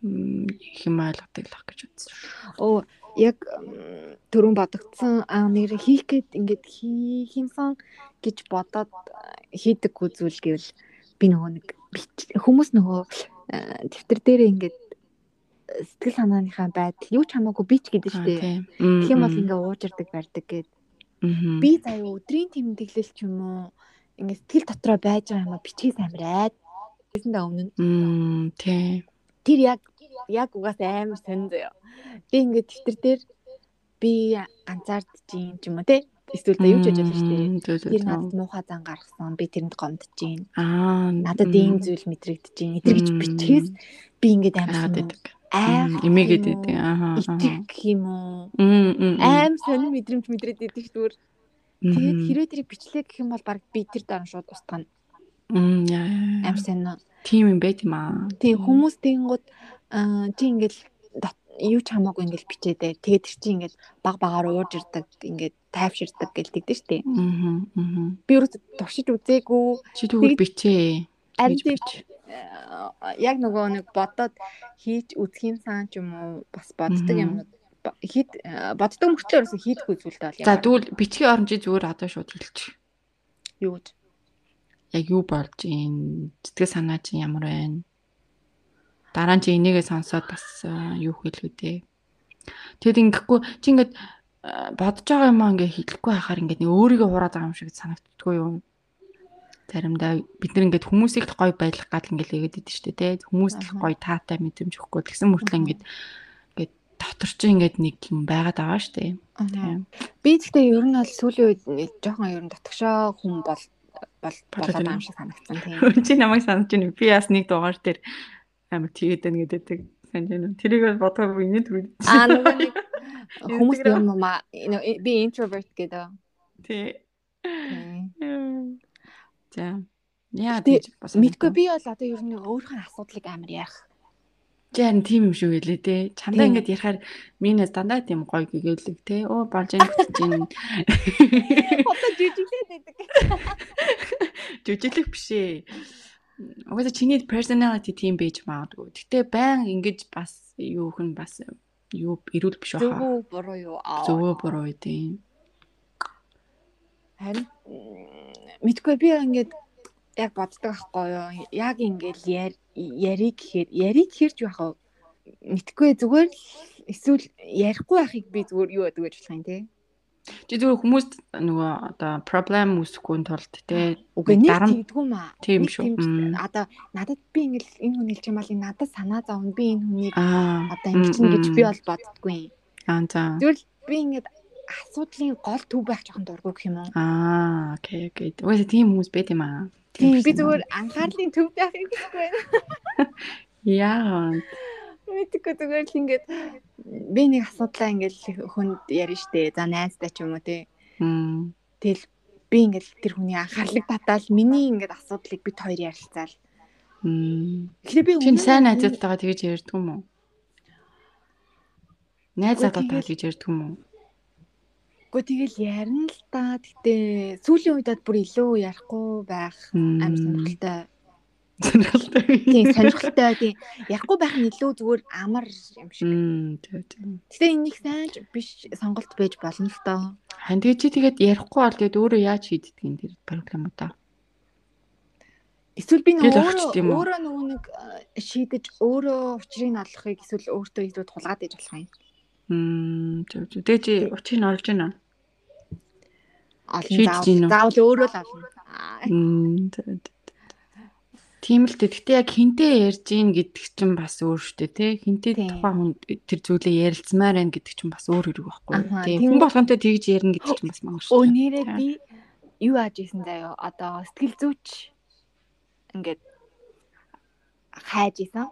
S2: м, их юм ойлгодог л ах гэж үзсэн.
S4: Оо яг м, түрүүн бодогдсон аа нэр хийх гээд ингээд хийх юмсан гэж бодоод аа, хийдэггүй зүйл гэвэл би нөгөө нэг бич- хүмүүс нөгөө аа, дэвтэр дээр ингээд э, сэтгэл санааныхаа байдал юу ч хамаагүй бич гэдэг
S2: Аа,
S4: шүү дээ.
S2: Тийм.
S4: Тэгэх юм бол ингээ уужирдаг барьдаг гэд
S2: ингээ
S4: би заяа өдрийн тэмдэглэл ч юм уу ингээд сэтгэл дотроо байж байгаа юм а бичгээс амир айд. Тэсэндээ өмнө
S2: Мм тий.
S4: тэр яг яг угаасаа амар сонь заяа. Би ингээд тэмдэгтэр дээр би анзаарч юм ч юм уу те. Эсвэл дэ юу ч хийж болно шүү дээ. Тэр надад
S2: дээ.
S4: муухай зан гаргасан. Би тэрэнд гомдож юм.
S2: Аа
S4: Надад ийм зүйл мэдрэгдэж юм. Эдэр гэж бичгээс би ингээд амар
S2: Наад
S4: сонь.
S2: идэг.
S4: Айх
S2: Имээгээд
S4: юм уу?
S2: идэг. Аха.
S4: Итэх гэх юм уу?
S2: Мм.
S4: Аим сонь мэдрэмж мэдрээд идэх дүр. Тэгээд хэрвээ тэрийг бичлээ гэх юм бол баг би тэр дараа шууд устгана.
S2: Мм. яа, яа, яа.
S4: Амар сонь нь.
S2: Тийм юм байт юм аа.
S4: Тийм хүмүүс тэнгууд аа, чи ингээл дот- юу ч хамаагүй ингээл бичээдээ. Тэгээд тэр чи ингээл баг багаар ууж ирдэг, ингээд тайвширдаг гэлдэгдэн штэ.
S2: Аа. Аа.
S4: Би өөрөөсөө туршиж үзээгүй.
S2: Чи тэгвэл
S4: Тэгээд-
S2: бичээ.
S4: Харин
S2: Тэгж
S4: тийм
S2: бич.
S4: аа, яг нөгөө нэг бодоод хийж үзэх юм сан ч юм уу бас боддог
S2: Мгм.
S4: юм бо- хит аа, боддог мөртлөө ерөөсөө хийдгүй зүйлтэй бол
S2: За
S4: ямар
S2: тэгвэл бичгийн оромжи зүгээр одоо шууд хэлчих.
S4: юу гэж
S2: Яг юу болж юм? Сэтгэл санаа чинь ямар байна? Дараа нь чи энийгээ сонсоод бас э, юу хэлэх үү? Тэгэд ингэхгүй чи ингээд э, бодож байгаа юм аа ингээ хэлэхгүй байхаар ингээд нэг өөрийгөө хураад байгаа юм шиг санагддггүй юу? Заримдаа бид нар ингээд хүмүүсийг л гоё байлгах гал ингээд л өгöd идэв шүү дээ тий. Хүмүүст л
S4: Аха.
S2: гоё таатай мэдрэмж өгөхгүй тэгсэн мөртлөө ингээд ингээд дотор чи ингээд нэг юм байгаад байгаа шүү дээ. Тийм.
S4: би гэхдээ ер нь бол сүүлийн үед нэг жоохон ер нь дотгошоо хүн бол бол болоод байгаа юм шиг санагдсан тийм
S2: Хүн чи намайг санаж байна. Би бас нэг дугаар дээр амар тэгээд байна гэдэг санаж байна. Тэрийг бол бодоогүй миний төрөд.
S4: Аа нөгөө нэг хүмүүс
S2: Инстаграм.
S4: юм уу маа нөө- би introvert гэдэг.
S2: Тий.
S4: Тийм.
S2: За. Яа
S4: Гэтэ,
S2: тийж бас.
S4: Мэдгүй би бол одоо ер нь өөрийнхөө асуудлыг амар ярих.
S2: Жан тийм юм шүү гэлээ те. Чамдаа
S4: Тийм.
S2: ингэж ярихаар минь дандаа тийм гоё гэгээлэг те. Оо болж ин гэж чинь
S4: Одоо жижиглээд байдаг.
S2: жүжиглэх биш ээ. Угаасаа чиний personality тийм байж магадгүй. Гэтэ баян ингэж бас юух нь бас юу эрүүл биш баха.
S4: Зөвөө буруу юу аа.
S2: Зөвөө буруу үгүй.
S4: Харин м, мэдгүй би ингээд яг боддог байхгүй юу. Яг ингээд яр- яриг гэхээр яриг хэрч яах вэ? Мэдгүй зүгээр л эсвэл ярихгүй байхыг би зүгээр юу гэдэг вэ болох юм те.
S2: Чи зүгээр хүмүүст нөгөө одоо проблем үүсэхгүй нь тулд те
S4: Угүй нэг
S2: Дарам-
S4: тийдгүй маа.
S2: Тийм
S4: Нэг
S2: шүү.
S4: тийм ч-
S2: Мм.
S4: Одоо надад би ингээд энэ хүн хэлж юм бол энэ надад санаа зовно. Би энэ хүнийг
S2: аа
S4: одоо ингэж чинь гэж
S2: Мм,
S4: би
S2: мм.
S4: бол боддгүй юм.
S2: аа за
S4: Зүгээр л би ингээд асуудлын гол төв байх жоохон дурггүй гэх юм уу.
S2: аа окей окей үгүй тийм хүмүүс байт юм аа
S4: Тийм би
S2: person.
S4: зүгээр анхаарлын төв байх юм гэхгүй байна.
S2: яа
S4: Мэдээгүй зүгээр л ингээд би нэг асуудлаа ингээд хүнд ярина штэ. За найзтай ч юм уу тий.
S2: Мм.
S4: Тэгэл би ингээд тэр хүний анхаарлыг татаал миний ингээд асуудлыг бит хоёр ярилцаал.
S2: Мм.
S4: Тэгэхээр би
S2: Чин
S4: өмнө-
S2: сайн найзтайгаа тэгж ярьдаг юм уу? Найз
S4: Үгүй,
S2: залуутай л гэж ярьдаг юм уу?
S4: Гэхдээ тэгэл ярина л та. Гэтэ сүүлийн үедээ бүр илүү ярихгүй байх
S2: Мм.
S4: амар сонирхолтой.
S2: Сонирхолтой.
S4: Тийм сонирхолтой тийм. Ярихгүй байх нь илүү зүгээр амар юм шиг.
S2: Мм. Тэг тэг.
S4: Гэтэ энэ их сайн ч биш сонголт байж болно л доо.
S2: Хань тэг чи тэгээд ярихгүй бол тэгээд өөрөө яаж хийдэг юм тэр проблем удаа.
S4: Эсвэл би нөгөө
S2: Тэгэл орчд юм уу?
S4: өөрөө өөрөө нөгөө нэг э, шийдэж өөрөө учрыг нь олохыг эсвэл өөртөө илүү тулгаад иж болох юм.
S2: Мм. Тэг тэг. Тэг чи учрыг нь олж байна.
S4: Олон
S2: Шийдэж гин үү?
S4: заавал заавал өөрөө л олно. Аа,
S2: Мм. тэг, тэг, тэг. Тийм л дээ. Гэтэ яг хинтээ ярьж ийн гэдэг чинь бас өөр шүү дээ, тий. Хинтээ
S4: Тийм.
S2: тухайн хүн тэр зүйлээ ярилцмаар байна гэдэг чинь бас өөр хэрэг байхгүй юу,
S4: Аха,
S2: тий.
S4: тийм.
S2: Хүн болгонтэй тэгж ярина гэдэг чинь бас маш
S4: Өө
S2: шүү.
S4: нэрээ
S2: Тий.
S4: би юу ааж исэн заяо одоо сэтгэл зүйч ингээд хайж исэн.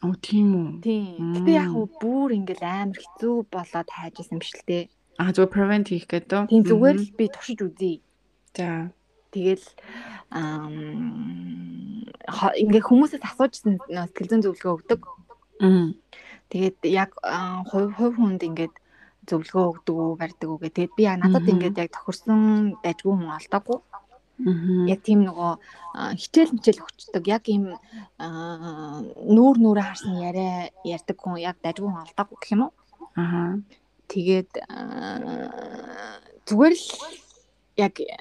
S2: Оо тийм үү.
S4: Тийм.
S2: Мм.
S4: Гэтэ яг уу бүр ингээд амар хэцүү болоод хайж исэн биш л дээ.
S2: Аа зүгээр prevent хийх гэдэг.
S4: Тийм зүгээр л би туршиж үзье.
S2: За.
S4: Тэгэл ам, хо- ингээ хүмүүсээс асуужсэн нөө сэтгэл зүйн зөвлөгөө өгдөг.
S2: Мм.
S4: Тэгээд яг аа, хувь хувь хүнд ингээд зөвлөгөө өгдөг үү, барьдаг үү гэдэг. Тэгээд би яг надад
S2: Мгм.
S4: ингээд яг тохирсон дажгүй хүн олдоогүй.
S2: Мгм.
S4: Яг тийм нөгөө аа, хичээл мчээл өгчдөг. Яг ийм аа, нүүр нүрэ харсан яриа ярьдаг хүн яг дажгүй хүн олдоогүй гэх юм уу?
S2: Аха.
S4: Тэгээд аа, зүгээр л яг э,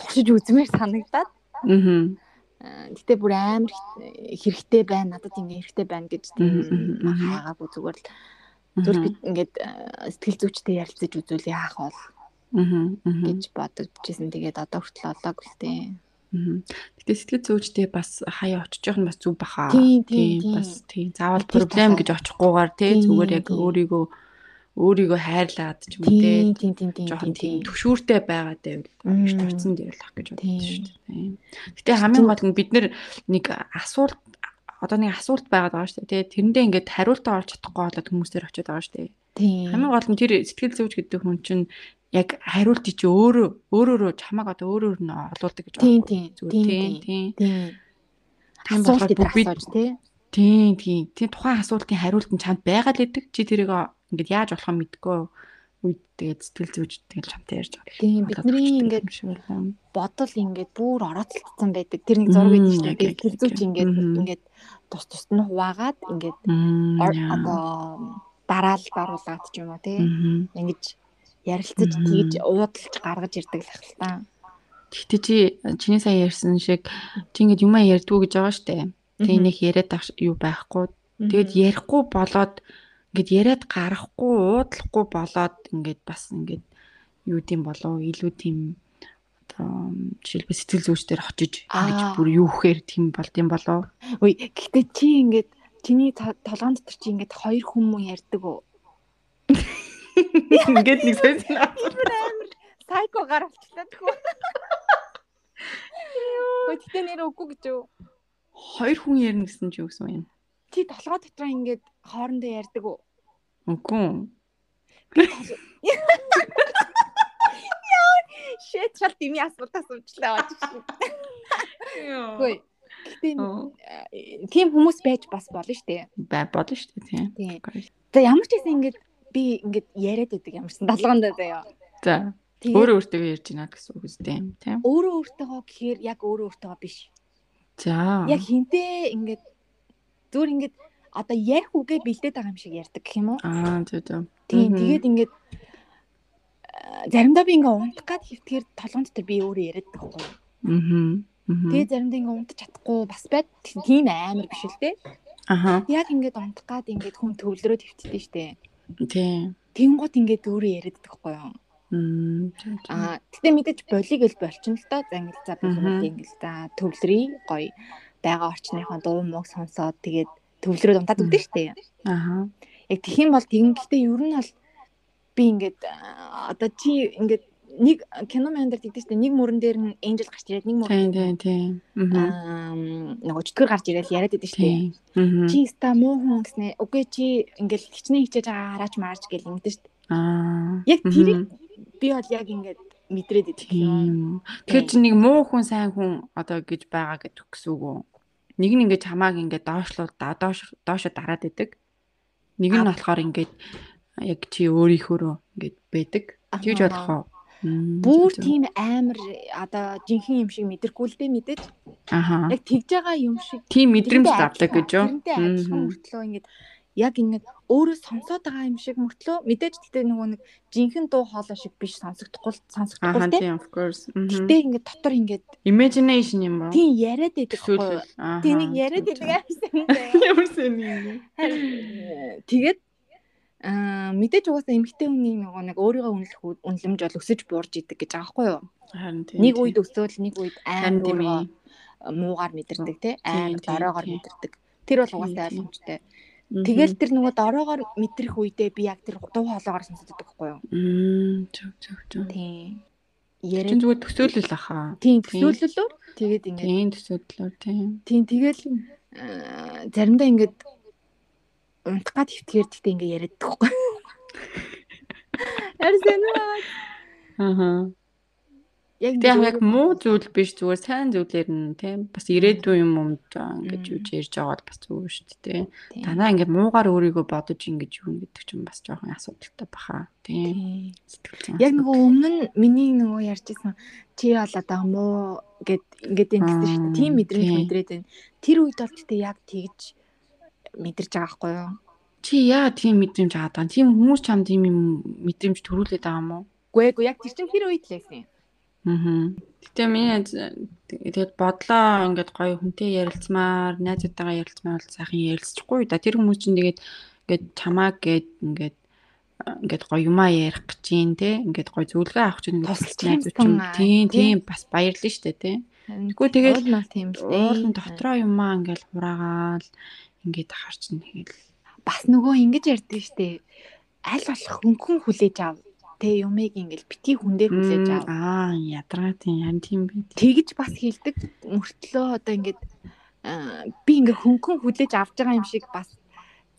S4: туршиж үзмээр санагдаад
S2: Мгм.
S4: Аа, гэтээ бүр амар хэ- хэрэгтэй байна надад ингэ хэрэгтэй байна гэж тийм
S2: Мгм, мгм.
S4: хаагаагүй зүгээр л зүгээр би ингээд аа, сэтгэл зүйчтэй ярилцаж үзүүлээ хаах бол
S2: Мгм. Мгм.
S4: гэж бодогдчихсэн тэгээд одоо хүртэл олоо гэлтэй
S2: Мгм. Гэтэ сэтгэл зүйчтэй бас хаяа очиж явах нь бас зүг баха.
S4: Тийм, тийм, тийм.
S2: бас тийм. Заавал
S4: Тэр
S2: проблем
S4: тохиол.
S2: гэж очихгүйгээр тий
S4: Тийм,
S2: зүгээр яг
S4: тийм.
S2: өөрийгөө өөрийгөө хайрлаад ч юм уу тий.
S4: тийм тийм тийм тийм
S2: Жохон тийм
S4: тийм
S2: төвшүүртэй байгаад байвал
S4: Мм.
S2: их тавцсан дээр л ах гэж боддоо
S4: Тийм.
S2: шүү дээ. Гэтэ хамгийн гол нь бид нэг асуулт одоо нэг асуулт байгаад байгаа шүү дээ. тий. Тэрэндээ ингээд хариултаа олж чадахгүй болоод хүмүүсээр очиод байгаа шүү дээ. Хамгийн
S4: тийм
S2: гол нь тэр сэтгэл зүйч гэдэг хүн чинь яг хариулт чи өөрөө өөрөөрөө чамаг одоо өөрөөр нь олуулдаг гэж
S4: Тийм,
S2: байхгүй.
S4: тийм,
S2: Зүгээр
S4: тийм,
S2: тийм
S4: тийм.
S2: тийм.
S4: тийм
S2: Тийм
S4: асуулт
S2: болохоор
S4: дээр
S2: бүгд
S4: асууж тий
S2: тийм тийм тийм тухайн асуултын хариулт нь чанд байгаа л гэдэг. Чи тэрийг о- ингээд яаж болох юм мэдгүй үед тэгээд сэтгэл зүйч тэгэл чамтай ярьж байгаа.
S4: Тийм, бидний ингээд- бодол ингээд бүр орооцолтсон байдаг тэр нэг зураг
S2: Мм, яг,
S4: гэдэг чинь
S2: яг,
S4: тэгээд
S2: яг,
S4: сэтгэл зүйч
S2: яг.
S4: ингээд
S2: Мгм.
S4: ингээд тус тус нь хуваагаад ингээд ор-
S2: одоо
S4: одоо дараал баруулаад ч юм уу тий ингэж ярилцаж
S2: Мгм.
S4: тэгж уудалж гаргаж ирдэг л хэлтаа.
S2: Гэтэ чи чиний сая ярьсан шиг чи ингээд юмаа ярьдгүй гэж байгаа штэ. Тэгээ нэг яриад ах юу байхгүй. Тэгэд ярихгүй болоод ингээд яриад гарахгүй, уудлахгүй болоод ингээд бас ингээд юу тийм болов илүү тийм одоо жишээлбэл сэтгэл зүйчдэр очиж ингэж
S4: Аа.
S2: бүр юухээр тийм болд юм болов.
S4: Үй гэхдээ чи ингээд чиний то- толгойн дотор чи ингээд хоёр хүмүүс ярьдаг уу?
S2: Ингээд нэг сайн санаа.
S4: Сайко гар авчлаа тэхүү. Гэхдээ нэр өггүй гэж юу?
S2: Хоёр хүн ярина гэсэн чи юу гэсэн юм?
S4: Чи толгой дотор ингээд хоорондоо ярьдаг уу?
S2: Үгүй юу?
S4: Шэт шал дими асуулт асуучлаа гэж шиг. Үй гэхдээ
S2: Оо.
S4: э, тийм хүмүүс байж бас болно шүү дээ.
S2: Бай болно шүү дээ тийм.
S4: Тийм. За ямар ч гэсэн ингээд би ингээд яриад байдаг юмсан толгойн дотор заяа.
S2: За
S4: Тэгээд
S2: өөрөө өөртөө ярьж гинэ гэсэн үг үстэй юм тийм.
S4: өөрөө өөртөө гэхээр яг өөрөө өөртөө биш.
S2: За.
S4: яг хинтээ ингээд зүгээр ингээд одоо ярих үгээ бэлдээд байгаа юм шиг ярьдаг гэх юм уу?
S2: Аа тийм тийм.
S4: Тийм
S2: Мгм.
S4: тэгээд ингээд аа, заримдаа би ингээд унтах гад хөвтгэр толгонд дотор би өөрөө яриад байгаа байхгүй. юу?
S2: Мгм. Мгм.
S4: Тэгээд заримдаа ингээд унтаж чадахгүй бас байт. Тийм амар биш л дээ.
S2: Аха.
S4: Яг ингээд унтах гад ингээд хүн төвлөрөө төвчдөө штэ.
S2: Тийм.
S4: Тэнгууд ингээд өөрөө яриад байгаа байхгүй юу?
S2: Мм. тийм, тийм.
S4: Аа тэгтээ мэдээж болиг л болчихно л доо. За ингээд за би
S2: Мгм.
S4: хүмүүс ингээд за төвлөрий гоё байгаа орчныхон дуу мөг сонсоод тэгээд төвлөрөөд унтаад өгдөө штэ.
S2: Аха.
S4: Яг тэгэх юм бол тэгэнгэлтэй ер нь бол би ингээд аа, одоо чи ингээд нэг кино мандер гэдэг чинь нэг мөрөн дээр нь angel гарч ирээд нэг мөрөн
S2: Тийм тийм тийм. Аа.
S4: аа нөгөө чөтгөр гарч ирээл яриад байдаг шүү дээ.
S2: Тийм. Мгм.
S4: Чи ста муу хүн гэснэ. Үгүй чи ингээл хичнээн хичээж байгаа хараач маарч гэл ингэдэж шүү дээ.
S2: Аа.
S4: Яг
S2: Мгм.
S4: тэрийг би бол яг ингээд мэдрээд идэх юм.
S2: Тийм. үү. Тэгэхээр чи нэг муу хүн сайн хүн одоо гэж байгаа гэдэг гэсэн үг үү? Нэг нь ингэж хамааг ингээд доошлуу да- доош доошо дараад идэг. Нэг нь
S4: Аа.
S2: болохоор ингээд яг чи өөрийнхөөрөө ингээд байдаг. Тэгж
S4: Аа.
S2: болох уу? Мм,
S4: Бүүр
S2: зөв, зөв.
S4: тийм амар одоо жинхэнэ юм шиг мэдэргүй л дээ мэдээж.
S2: Аха.
S4: Яг тэгж байгаа юм шиг
S2: Тийм мэдрэмж
S4: тэрнтэй
S2: завдаг
S4: адилхан,
S2: гэж юу?
S4: тэрнтэй адилхан
S2: Мгм.
S4: мөртлөө ингээд яг ингээд өөрөө сонсоод байгаа юм шиг мөртлөө мэдээж гэдэг нөгөө нэг жинхэнэ дуу хоолой шиг биш сонсогдохгүй л-
S2: Аха
S4: сонсогдохгүй л дээ.
S2: тийм of course. Мгм.
S4: Гэтэ ингээд дотор ингээд
S2: Imagination юм уу?
S4: тийм яриад байдаг байхгүй юу?
S2: Төсөөлөл. Аха.
S4: Тэ нэг яриад
S2: зөв,
S4: байдаг
S2: зөв.
S4: амьсан дээ.
S2: Ямар сэний.
S4: Харин, э, Тэгээд аа мэдээж угаасаа эмгтэй хүний нөгөө нэг өөрийгөө үнэлэх ү- үнэлэмж бол өсөж буурж идэг гэж байгаа байхгүй юу?
S2: Харин тийм.
S4: Нэг
S2: тийм.
S4: үед өсөөл нэг үед
S2: Харин
S4: амар
S2: тийм
S4: өөрийгөө
S2: ээ.
S4: муугаар мэдэрдэг тий амар
S2: Тийм, тийм,
S4: дороогоор
S2: тийм.
S4: мэдэрдэг. Тэр бол
S2: Тийм, тийм.
S4: угаасаа ойлгомжтой.
S2: Мгм.
S4: Тэгэл тэр нөгөө дороогоор мэдрэх үедээ би яг тэр дуу хоолоогоор сонсоод байдаг байхгүй юу?
S2: Мм, зөв зөв зөв.
S4: Тийм.
S2: Чин
S4: Ярин
S2: зүгээр төсөөлөл ахаа.
S4: тийм
S2: тийм.
S4: төсөөлөлөө тэгээд ингээд
S2: Тийм төсөөллөөр тийм.
S4: тийм тэгэл аа, заримдаа ингээд унтах гад хөвтгээр тэгтээ ингээд яриад байхгүй юу? Арсэн уу?
S2: Аха.
S4: Яг
S2: Тэг яг
S4: нэг
S2: яг муу зүйл биш зүгээр сайн зүйлээр нь тийм бас ирээдүйн юм юм даа ингэж
S4: Мм.
S2: үж ярьж байгаа бол бас зөв шүү дээ.
S4: Тийм.
S2: тийм. Танаа ингэ муугаар өөрийгөө бодож ингэж юу гэдэг чинь бас жоохон асуудалтай баха. Тийм.
S4: Тийм.
S2: Сэтгэл зүйн
S4: Яг нөгөө өмнө нь миний нөгөө ярьжсэн чи бол одоо муу гэд ингээд энэ
S2: Аа,
S4: гэсэн шүү дээ. Тийм мэдрэмж
S2: тийм.
S4: мэдрээд байна. Тэр үед бол тэгтээ яг тэгж мэдэрч байгаа байхгүй юу?
S2: Чи яа тийм мэдрэмж аваад байгаа юм? Тийм хүмүүс чам тийм юм мэдрэмж төрүүлээд байгаа юм уу?
S4: Гүй гүй яг тэр чинь тэр үед л байсан юм.
S2: Аа. Гэтэ миний аз- тэгээд бодлоо ингээд гоё хүнтэй ярилцмаар, найзуудтайгаа ярилцмаар бол сайхан ярилцчихгүй да. Тэр хүмүүс чинь тэгээд ингээд чамаа гээд ингээд а, ингээд гоё юмаа ярих гэж юм те. Ингээд гоё зөвлөгөө авах гэж ингээд
S4: Тусалж
S2: найзууд
S4: хэмтэн
S2: чинь
S4: аа,
S2: тийм
S4: тий.
S2: тийм бас баярлна штэ те. Тэгвэл тэгээд
S4: Уул нь бол тийм л дээ.
S2: уулын дотроо юмаа ингээд хураагаал ингээд харч нэгээл
S4: бас нөгөө ингэж ярьдээ шүү дээ. Аль болох хөнгөн хүлээж ав. Тэ юмыг ингээд бити хүн дээр хүлээж ав.
S2: аа ядаргаа тийм ян тийм байт.
S4: тэгж бас хилдэг мөртлөө одоо ингээд аа, би ингээд хөнгөн хүлээж авч байгаа юм шиг бас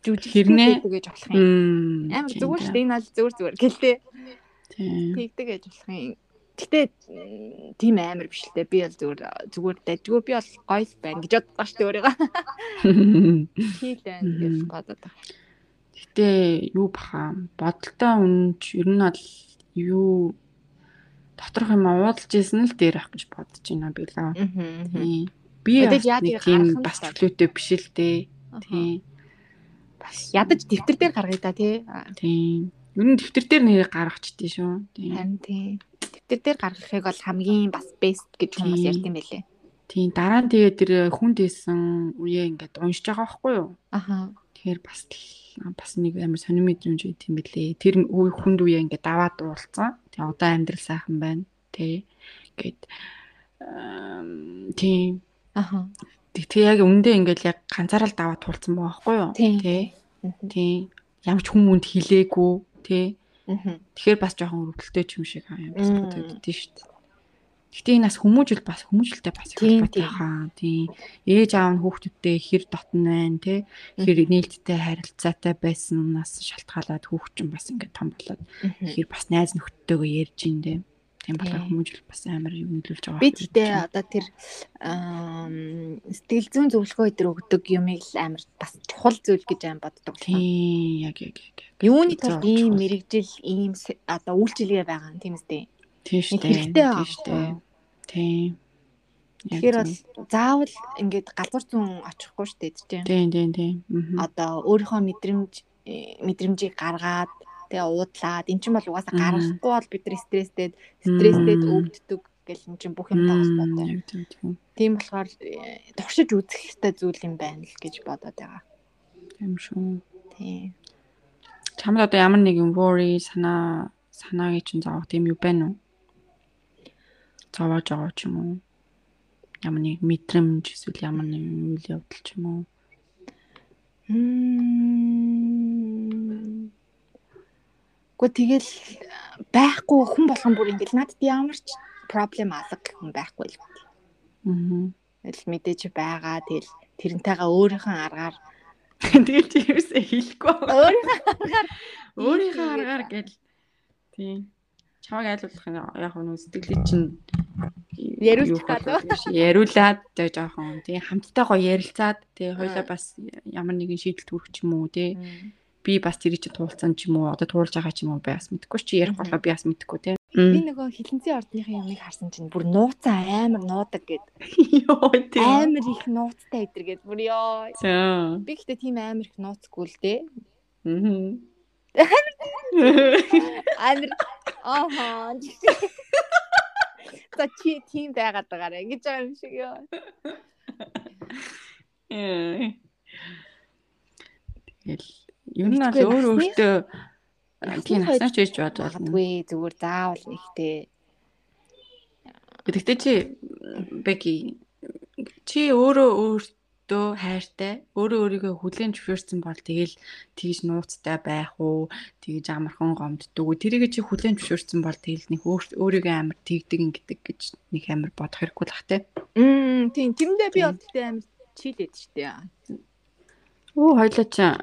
S2: Хэрнээ?
S4: жүжигтэй гэж болох юм.
S2: Мм.
S4: Амар зүгээр шүү дээ энэ аль зүгээр зүгээр гэлтэй
S2: дээ.
S4: тэгдэг гэж болох юм. Гэтэ м, тийм амар биш л дээ. Би бол зүгээр зүгээр дайггүй би бол гоё л байна гэж боддог шүү дээ өөрийгөө.
S2: Тийм.
S4: Хил байна гэж бодоод байгаа.
S2: Гэтэ юу баха бодолтой үнэнч ер нь бол юу доторх юм уудалж исэн л дээр авах гэж бодож байна би л аа.
S4: Аа.
S2: Тийм. Би
S4: Мэдээж
S2: бас
S4: яа
S2: нэг
S4: тэрийг
S2: тийм
S4: харах нь
S2: бас
S4: л
S2: төлөөтэй биш л дээ. Тийм. Бас
S4: Ядаж дэвтэр дээр гаргая да тий. Аа,
S2: тийм. Ер нь дэвтэр дээр нэрийг гаргачдээ шүү. Тийм.
S4: Харин тий. Дэвтэр дээр гаргахыг бол хамгийн бас best гэж хүмүүс
S2: Тийм.
S4: ярьд юм байлээ.
S2: Тийм. Дараа нь тэгээ тэр хүн дэсэн үе ингээд уншиж байгаа байхгүй юу?
S4: Ахаа.
S2: Тэгэхээр бас л- бас нэг амар сонир мэдрэмж өгд юм билээ. Тэр үе хүнд үе ингээд даваад уулцсан. Тэгээ одоо амьдрал сайхан байна. Тэ. Ингээд тийм.
S4: Ахаа.
S2: Тэгээ яг өндөө ингээд яг ганцаараа л даваад уулцсан байгаа байхгүй юу?
S4: Тийм.
S2: Тийм. Ямар ч хүмүүнд хилээгүй. Тэ.
S4: Аа.
S2: Тэгэхээр бас жоохон өрөвдөлтэй ч юм шиг аа юм бас
S4: Мм.
S2: бодогддээ шүү дээ. Гэтэ энэ бас хүмүүжил бас хүмүүжлтэй бас их
S4: Тийм,
S2: холбоотой
S4: тийм.
S2: хаа. Тийм. Ээж аав нь хүүхдүүдтэй хэр дотн байна те. Хэр нээлттэй харилцаатай байсан нас шалтгаалаад хүүхчин бас ингээд том болоод хэр бас найз нөхдөдтэйгээ ярьж ин те. Тийм болохоор
S4: Тийм.
S2: хүмүүжил бас амар юм нөлөөлж байгаа.
S4: Би
S2: байх гэж
S4: тэгтээ
S2: байна.
S4: одоо тэр ам, сэтгэл зүйн зөвлөгөө өдр өгдөг юмыг л амар бас чухал зүйл гэж аим боддог. болохоор.
S2: тийм яг яг яг. яг.
S4: Юуны тулд
S2: Зөв,
S4: ийм
S2: чухал.
S4: мэрэгжил, ийм с- одоо үйлчилгээ байгаа юм тийм үстэй.
S2: Тийм шүү
S4: Нэг
S2: дээ.
S4: хэрэгтэй
S2: Тийм
S4: байгаа
S2: шүү
S4: байхгүй
S2: дээ.
S4: юу?
S2: Тийм. Яг
S4: Тэгэхээр
S2: зөв.
S4: бол заавал ингээд галзуур зүүн очихгүй шүү дээ тийм.
S2: тийм тийм тийм. Аа.
S4: Одоо өөрийнхөө мэдрэмж э, мэдрэмжийг гаргаад тэгээ уудлаад эн чинь бол угаасаа
S2: Мгм.
S4: гаргахгүй бол бид нар стресстэй стресстэй
S2: Мм.
S4: өвддөг гэл эн чинь бүх юмтай холбоотой.
S2: Яг зөв, тийм.
S4: Тийм болохоор э, туршиж үзэх хэрэгтэй зүйл юм байна л гэж бодоод байгаа.
S2: Тийм шүү.
S4: Тийм.
S2: Чамд одоо ямар нэгэн worry санаа санаагийн чинь зовох тийм юу байна уу? Зовоож байгаа ч юм уу? Ямар нэг мэдрэмж эсвэл ямар нэг үйл явдал ч юм уу?
S4: Мм. Гэхдээ тэгэл байхгүй хүн болгон бүр ингээл надад ямар ч проблем алга гэх хүн байхгүй л байна.
S2: Мгм.
S4: Тэгэл мэдээж байгаа. Тэгэл тэрнтэйгээ өөрийнхөө аргаар
S2: Тэгэл чи юусээ хэлэхгүй.
S4: өөрийнхөө
S2: Өөрийнхөө аргаар гэл. Тийм. Чамайг айлуулах нь яг нь сэтгэлээ чинь
S4: Яриулчих
S2: юу болох
S4: гад.
S2: вэ биш. Яриулаад тэ жоохон тийм хамтдаа гоё ярилцаад тий хоёлаа бас ямар нэгэн шийдэл төрөх ч юм уу тий би бас тэр чинь туулцсан ч юм уу одоо туулж байгаа ч юм уу бас мэдхгүй чи ярих болоо би бас мэдхгүй тий.
S4: би нөгөө хилэнцгийн ордныхын юмыг харсан чинь бүр нууцаа амар нуудаг гэд
S2: Йоо тий.
S4: амар их нууцтай өдр гэд бүр ёо.
S2: За.
S4: Би гэхдээ тийм амар их нууцгүй л дээ.
S2: Мгм.
S4: Амар аахаа. За чи тийм байгаад байгаарэ. Ингэж байгаа юм шиг ёо.
S2: Ээ. Тэгэл ер нь бол
S4: Мэдгүй
S2: өөр
S4: насны-
S2: өөртөө э,
S4: насны
S2: тийм
S4: хойд
S2: насаач ээж бод болно.
S4: Магадгүй зүгээр заавал нэгтэй.
S2: Гэхдээ чи Бэки чи өөрөө өөртөө хайртай, өөрөө өөрийгөө хүлээн зөвшөөрсөн бол тэгэл тэгж нууцтай байх уу, тэгж амархан гомддаг уу. Тэрийг чи хүлээн зөвшөөрсөн бол тэгэл нэг өөр- өөрийгөө амар тэгдэг ингэдэг гэж нэг амар бодох хэрэггүй л ах те.
S4: Мм тийм тэрэндээ би
S2: Тийм.
S4: бол тэгтээ амар чилээд штэ.
S2: Оо хоёлаа чи э,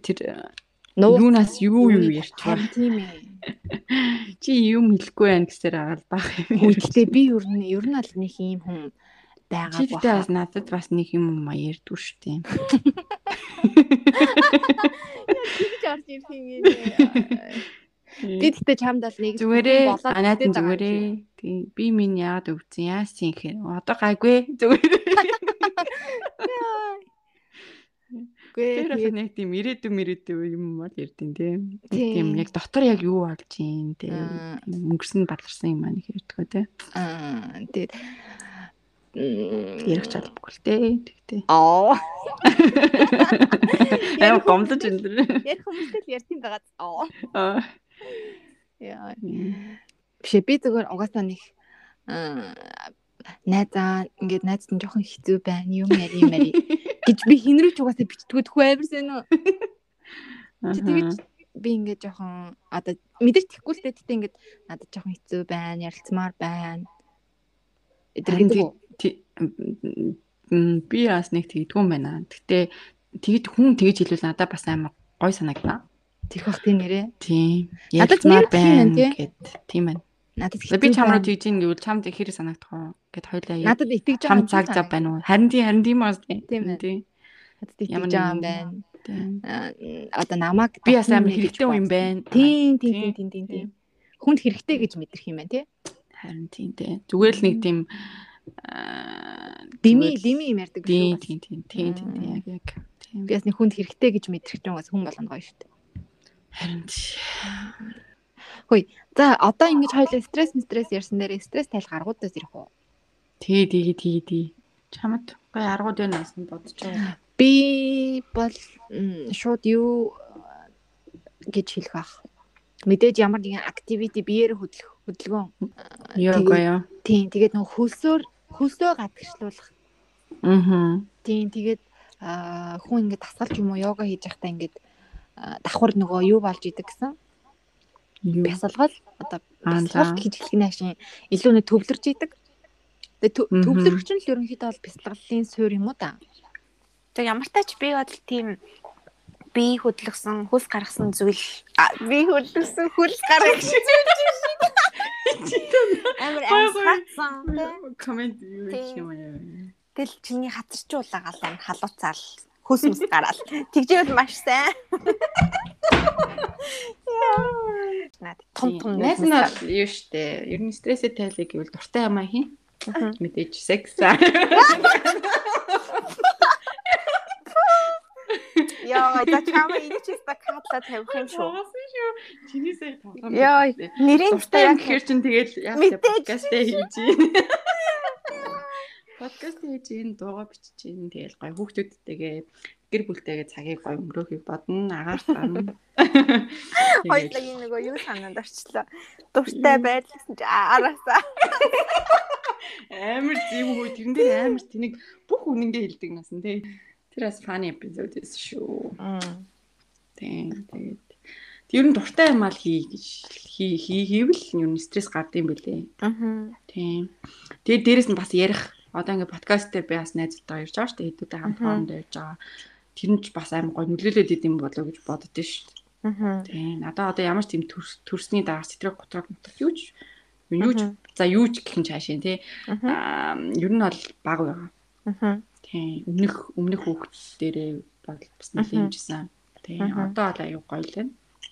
S2: тэр юунаас юу юу ярьж байна.
S4: Харин тийм ээ.
S2: Чи юм хэлэхгүй байх гэсээр агаал бах.
S4: Гэхдээ би ер нь ер нь аль нэг юм хүн
S2: Чи
S4: байгаа
S2: гэдэг бас
S4: баха.
S2: надад бас нэг юм маярдгүй шүү дээ.
S4: Тэгж орж ирэх юм юм. Би тэгтээ чамд бол нэг
S2: Зүгээрээ
S4: хүн болоод
S2: анаад нь
S4: тэгтээ байгаа юм
S2: зүгээрээ.
S4: шиг.
S2: Тий, би минь яад өвцөн яасан гэхээр одоо гайгүй зүгээрээ. Тэр бас
S4: Үгүй
S2: нэг тийм ирээдү мэрээдү юм бол ярдэн тийм.
S4: Тийм.
S2: Тийм яг дотор яг юу болж юм тийм.
S4: Аа.
S2: Тийм, Өнгөрсөн бадларсан юм аа нэг ярьдгаа тийм.
S4: аа тэгээд
S2: Ярих чадахгүй л тийм. Тэгтээ.
S4: Аа.
S2: Аа гомдож энэ дэр.
S4: Яг хүмүүстэй л ярьсан байгаа. Аа.
S2: Аа.
S4: Яа.
S2: Мм.
S4: Бишээ би зүгээр угаасаа нэг аа, найзаа ингээд найзд нь жоохон хэцүү байна. Юм яри мари гэж би хинрүүч угаасаа бичтгүүд хүү амирсэн үү. Чи тэгэж би ингээд жоохон одоо мэдэрч тэхгүй л дээ тэгтээ ингээд надад жоохон хэцүү байна. Ярилцмаар байна.
S2: Харин
S4: Эдгэргийн
S2: Тий- м, би бас нэг тэгдгүй юм байна. Гэтэ тэгэд хүн тэгж хэлвэл надад бас амар гой санагнаа.
S4: тэх бах тийм нэрэ.
S2: Тийм.
S4: Надад
S2: Ярилцмаар
S4: нэр өгсөн юм тий.
S2: гэд тийм байна.
S4: Надад
S2: Би чам руу
S4: байна.
S2: тэгж ийн гэвэл чамд хэрэг санагдах уу гэд хоёлаа яа.
S4: надад итгэж байгаа
S2: Чам
S4: юм
S2: цаг зав байна уу? Харин тийм харин тийм бас тийм.
S4: Тийм байна.
S2: Тийм.
S4: Надад итгэж
S2: Ямар
S4: байгаа
S2: нэгэн-
S4: юм байна.
S2: Тийм.
S4: Аа, одоо намайг
S2: Би бас амар
S4: татна гэж
S2: хэрэгтэй юм
S4: бодсон.
S2: байна.
S4: Тийм тийм
S2: Тийм,
S4: тийм тийм тийм,
S2: тийм.
S4: тийм. Хүнд хэрэгтэй гэж мэдрэх юм байна тий.
S2: Харин тийм тий. Зүгээр л нэг тийм аа,
S4: Дими
S2: зүгээр л-
S4: дими юм ярьдаг
S2: Тийм
S4: шүү.
S2: тийм тийм тийм тийм тийм, яг яг. Тийм.
S4: Би бас нэг хүнд хэрэгтэй гэж мэдрэх юм бас хүн болгоно гоё шүү дээ.
S2: Харин тий.
S4: За одоо ингэж хоёул стресс стресс ярьсан дээр стресс тайл гаргуудаас ирэх үү?
S2: Тий тий тий тий. Чамд гой аргууд байна гэсэн бодож байгаа.
S4: Би бол м, шууд юу э, гэж хэлэх бах. Мэдээж ямар нэгэн activity биеэр хөдөлгөх хөдөлгөөн.
S2: Йога яа.
S4: Тийм тэгээд нөх хөлсөөр хөлсөө гадагшлуулах.
S2: Аа.
S4: Тийм тэгээд аа, хүн ингэ тасгалж юм уу йога хийж байхдаа ингэ давхар нөгөө юу болж идэг гэсэн.
S2: Юу
S4: бясалгал одоо
S2: Аа,
S4: бясалгал
S2: за.
S4: гэж хэлэх нь ашиг илүү нэ төвлөрч идэг. Тэгээ төв-
S2: Мгм.
S4: төвлөрч нь л ерөнхийдөө бол бясалгалын суурь юм уу да.
S1: Тэг ямар тач би бодол тийм би хөдлөсөн хөлс гаргасан зүйл а, би хөдлөсөн хөлс гаргасан зүйл амар амсгацсан
S2: коммент юу
S1: гэх юм
S2: аа.
S1: тэл чиний хатарчуулаагаал энэ халууцаал хөлс мэс гараал тэгжээл маш сайн Наад том том
S2: Найз нь бол юу штэ. Ер нь стрессээ тайлыг гэвэл дуртай юм аа хий.
S1: Мгм.
S2: Мэдээж секс. аа.
S1: Яа, за чамаа энэ ч ихтэй катла тавих юм шүү.
S2: Тоглосон шүү. Чиний сая тоглоом.
S1: Яй, Нэрийн
S2: Дуртай
S1: дээрээ
S2: юм гэхэр чин тэгэл яах вэ?
S1: Мэдээж.
S2: подкаст хийж юм. Подкаст хийж энэ дуугаа бичиж юм. Тэгэл гой хүүхдүүдтэйгээ гэр бүлтэйгээ цагийг гой өнгөрөхийг бодно. Агаар тань.
S1: хоёулагийн нөгөө юу санаанд орчлоо. Дуртай байл гэсэн чи а- араасаа.
S2: амар зэв хүү тэрэн дээр амар тэнийг бүх үнэнгээ хэлдэг насан тий. Тэр бас фаны эпизод эс шүү. Тийм тэгээд Ер нь дуртай юм аа л хий гэж хий хий- хийвэл ер нь стресс гардыг юм бэлээ.
S1: Аа.
S2: Тийм. Тэгээд дээрэс нь бас ярих. Одоо ингээд подкаст дээр би бас найзтайгаа ярьж байгаа шүү дээ. Хэдүүтэй хамт
S1: Мгм.
S2: хоорондоо ярьж байгаа. Тэр нь ч бас амар гоё нөлөөлөд идэм болов гэж боддөө шүү дээ. Тийм. Надаа одоо ямар ч тийм төрс- төрсний дараа сэтрэг готрог нутгах юу ч юу ч за юу ч гэх юм чаашаа тий. Аа ер нь бол баг байгаа. Тийм. Өмнөх өмнөх хүүхдүүд дээрээ бол бас нэлээд
S1: Мгм.
S2: хэмжсэн. Тийм.
S1: Мгм.
S2: Одоо бол аюу гоё л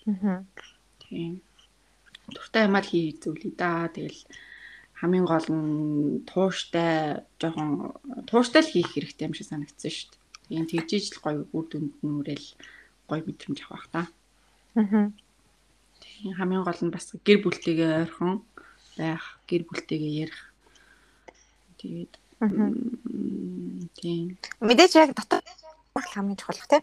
S2: байна. Тийм. Дуртай юм аа л хий зүйлээ да. Тэгэл хамгийн гол нь тууштай жоохон тууштай л хийх хэрэгтэй юм шиг санагдсан шүү дээ. Тийм тэгжиж л гоё үр дүнд нь үрэл гоё мэдрэмж авах та. Тийм хамгийн гол нь бас гэр бүлтэйгээ ойрхон байх, гэр бүлтэйгээ ярих. Тэгээд м, тийм
S1: Мэдээж яг дотор л хамгийн чухал те.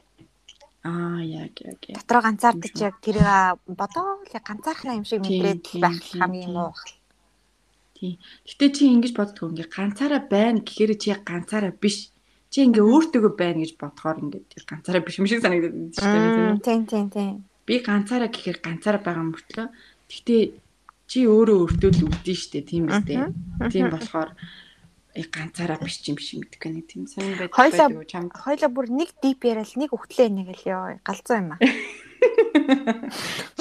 S2: аа яг яг яг
S1: Дотор ганцаардаж яг тэрийг бодоол яг ганцаархнаа юм шиг
S2: Тийм,
S1: мэдрээд
S2: тийм,
S1: байх
S2: тийм,
S1: хамгийн
S2: тийм.
S1: муу.
S2: Гэтэ чи ингэж боддгоо ингээ ганцаараа байна гэхээр чи яг ганцаараа биш. Чи ингээ өөртөөгөө байна гэж бодохоор ингээ ганцаараа биш юм шиг санагдаад байна шүү дээ. мэдэн үү?
S1: Тийм тийм тийм.
S2: Би ганцаараа гэхээр ганцаараа байгаа мөртлөө. Гэтэ чи өөрөө өөртөө л үлдэн шүү дээ. Тийм үстэй. Тийм болохоор яг ганцаараа биш юм биш юм гэдэг нэг тийм сонир байдаг
S1: Хоёлаа-
S2: байдаг чамд.
S1: Хойло бүр нэг дип яриа л нэг өгтлээ нэг л ёо галзуу юм аа.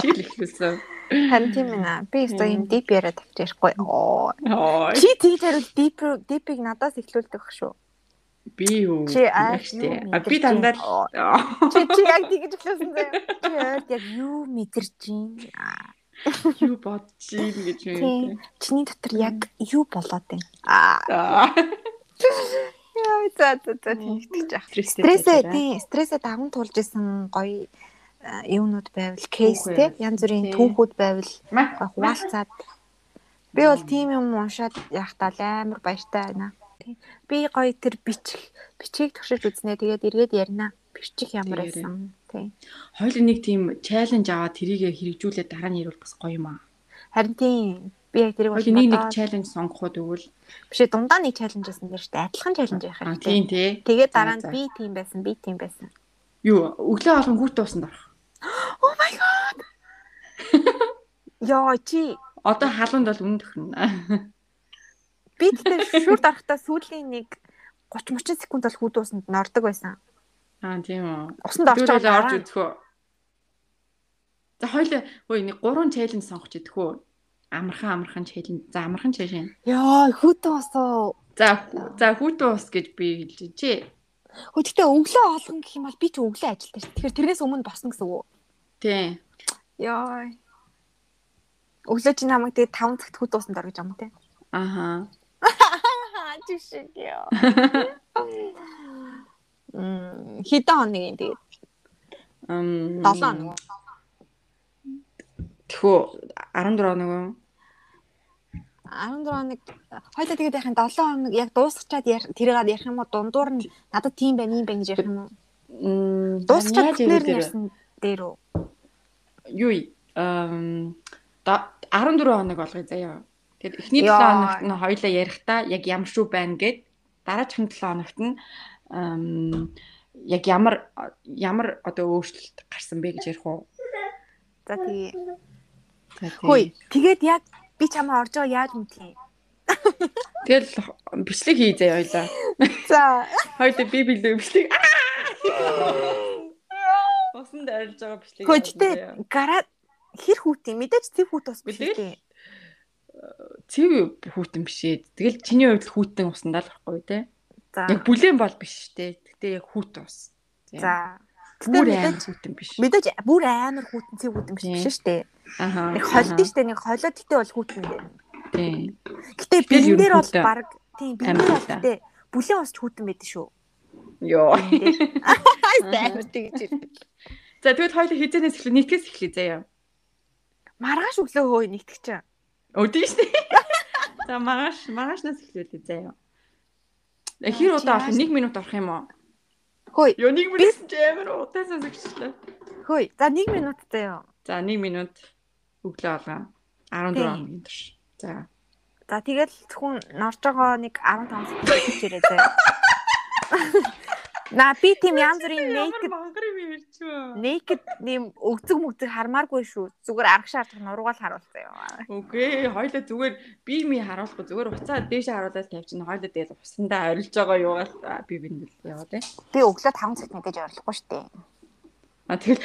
S2: Чи л ихлүүлсэн.
S1: Харин тийм ээ. наа. Би өөртөө юм дип яриа тавьж ярихгүй. Оо.
S2: Ой
S1: Чи тийгээр л дип дипийг надаас эхлүүлдэг шүү.
S2: би юу?
S1: Чи аа,
S2: яг шүү дээ.
S1: юу
S2: А, Би дандаа л-
S1: мэдэрч
S2: Аа,
S1: Чи чи яг тийгэж эхлүүлсэн заяа. Чи ойр яг юу мэдэрч юм?
S2: юу бодчих юм гэж
S1: Тийм.
S2: юм.
S1: Чиний дотор яг юу болоод байна? Аа.
S2: Аа.
S1: Яа, за за за тийм итгэж яах. Стрессээ тийм стрессээ даван туулж исэн гоё а, юмнууд байвал кейс
S2: Түүх
S1: те
S2: байвал,
S1: янз бүрийн
S2: тий.
S1: түүхүүд байвал
S2: Мах
S1: гоё хуваалцаад би бол тийм юм уншаад явахдаа л амар баяртай байна. Тий. Би гоё тэр бичих бичгийг туршиж үзнэ тэгээд эргээд ярина. Бичих ямар
S2: Тий, ярина.
S1: байсан. Тий.
S2: Хоёул нэг тийм чаленж аваад тэрийг хэрэгжүүлээ дараа нь ирвэл бас гоё юм аа.
S1: Харин тийм би яг тэрийг бол
S2: Хоёул нэг нэг
S1: бодоод-
S2: чаленж сонгох уу тэгвэл
S1: бишээ дундаа нэг челленж гэсэн нэртэй адилхан челленж байх
S2: аа
S1: хэрэгтэй.
S2: тийм тий.
S1: Тэгээд
S2: За,
S1: дараа нь
S2: за.
S1: би тийм байсан, би тийм байсан.
S2: Юу өглөө болгон хүүт дуусанд орох.
S1: Йоо чи
S2: Одоо халуунд бол үнэн төхрөн.
S1: би тэгтээ шүрд орохтой сүүлийн нэг 30 30 секунд бол хүүд усанд нордог байсан.
S2: Аа тийм үү.
S1: Усанд орч
S2: Дөрөв л орж
S1: байгаа.
S2: үзэх үү. За хоёул хөөе нэг гурван чаленж сонгоч идэх үү. Амархан амархан чаленж. За амархан чаленж.
S1: Йоо хүүд усоо.
S2: За хүү- за хүүт дуус гэж би хэлж чи.
S1: Хөдөлтөө өглөө олгон гэх юм бол би ч өглөө ажилдаа шүү. Тэгэхээр тэрнээс өмнө босно гэсэн үг.
S2: Тийм.
S1: Йоо. Өглөө чи намайг тэгээ 5 цагт хүүд усанд ор гэж юм те.
S2: Ааха.
S1: Аа жишээ ёо. Мм хитэн хоног юм тэгээ.
S2: Ам
S1: 7 хоног.
S2: Тэхүү 14 хоног юм.
S1: 14 хоног хоёлаа тэгээд яхин 7 хоног яг дуусчихад ярих- тэрийгээр ярих юм уу дундуур нь надад тийм байна ийм байна гэж ярих юм уу
S2: Мм,
S1: дуусчихад
S2: яаж ярих
S1: бүтээр
S2: дээр вэ?
S1: ярьсан дээр үү
S2: юу эм да- 14 хоног болгоё заяа. Тэгэд эхний 7
S1: Яа.
S2: хоногт нь хоёлаа ярихдаа яг ямар шүү байна гэд дараагийн 7 хоногт нь эм яг ямар ямар одоо өөрчлөлт гарсан бэ гэж ярих уу?
S1: за тэгээ
S2: За, тий.
S1: хөөе тэгээд яг би чамаа орж байгаа яаж мэдхий
S2: Тэгэл бичлэг хий заяа хоёлаа.
S1: за
S2: Хоёлаа би билүү бичлэг. Усан дайрж байгаа бичлэг.
S1: хөөжтэй гара хэр хүүтэн мэдээж цэв хүүт бас биш
S2: Мэдээж.
S1: үү
S2: Цэв хүүтэн биш ээ. Тэгэл чиний хувьд л хүүтэн усандаа л байхгүй те.
S1: за
S2: Яг бүлээн бол биш те. Гэтэ яг хүүт ус. Тийм.
S1: за
S2: Бүр
S1: Тэгтээ
S2: амар
S1: мэдээж-
S2: хүүтэн биш.
S1: мэдээж бүр амар хүүтэн цэв хүүтэн биш
S2: Тийм.
S1: биш штэ
S2: Ахаа.
S1: нэг холд штэ нэг холоод гэдэг бол хүүтэн дээ
S2: Тийм.
S1: гэтээ
S2: Тэгэл
S1: бэлэн дээр бол
S2: ерөнхийдөө
S1: баг тийм бэлэн
S2: амар
S1: дээр бол
S2: хүүтэн.
S1: гэтээ бүлээн усч хүүтэн байдаг шүү
S2: Йоо.
S1: амар тэгж ирдэг.
S2: За тэгвэл хоёул хизэнээс эхлэх нийтгэс эхлэе заяа.
S1: Маргааш өглөө хөөе нэгтгэж чинь.
S2: Өдөө шүү дээ. За маргааш маргаашнаас эхлүүлээ заяа. Э, Хэр удаа авах 1 минут орох юм уу?
S1: Хөөе,
S2: Йоо 1 минут ч амар удаасаа зэгчлээ.
S1: хөөе. За 1 минут заяа.
S2: За 1 минут өглөө олгоо. 14
S1: Тийм.
S2: хоногийн турш. За.
S1: За тэгэл зөвхөн норж байгаа нэг 15 секунд хийж ирээ заяа. На би тийм янз бүрийн naked
S2: мангар юм ярьж шүү.
S1: Naked нэм өгзөг мөгзөг хармааргүй шүү. Зүгээр арга шаардах нуруугаал харуулсан юм.
S2: Үгүй ээ, хоёлаа зүгээр бие мий харуулахгүй зүгээр уцаа дээшээ харуулаад тавьчихна. Хоёлаа тэгэл усандаа орилж байгаа юугаар би бинд яваа тий.
S1: Би өглөө 5 цагт мэдээж оролцохгүй шүү дээ.
S2: А тэгэл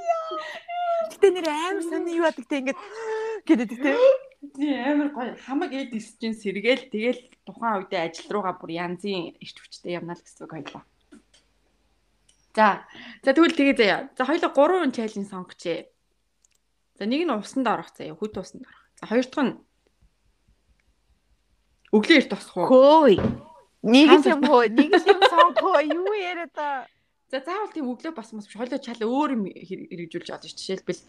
S1: Гэтэ нэр амар сони юу адаг те ингээд гэдэг те.
S2: тий амар гоё хамаг эд эсчин сэргээл тэгэл тухайн үедээ ажил руугаа бүр янзын ишт хүчтэй явна л гэсэн үг хоёлаа. За. За тэгвэл тэгээ заяа. За хоёлаа гурван чаленж сонгочээ. За нэг нь усанд орох заяа, хөт усанд орох. За хоёр дахь нь өглөө эрт тосох уу?
S1: Хөөй. Нэг юм хөө, нэг юм сонгоо юу яриа та.
S2: За заавал тийм өглөө бас мас биш. Хойлоо чал өөр юм хэр- хэрэгжүүлж олж ш. Жишээлбэл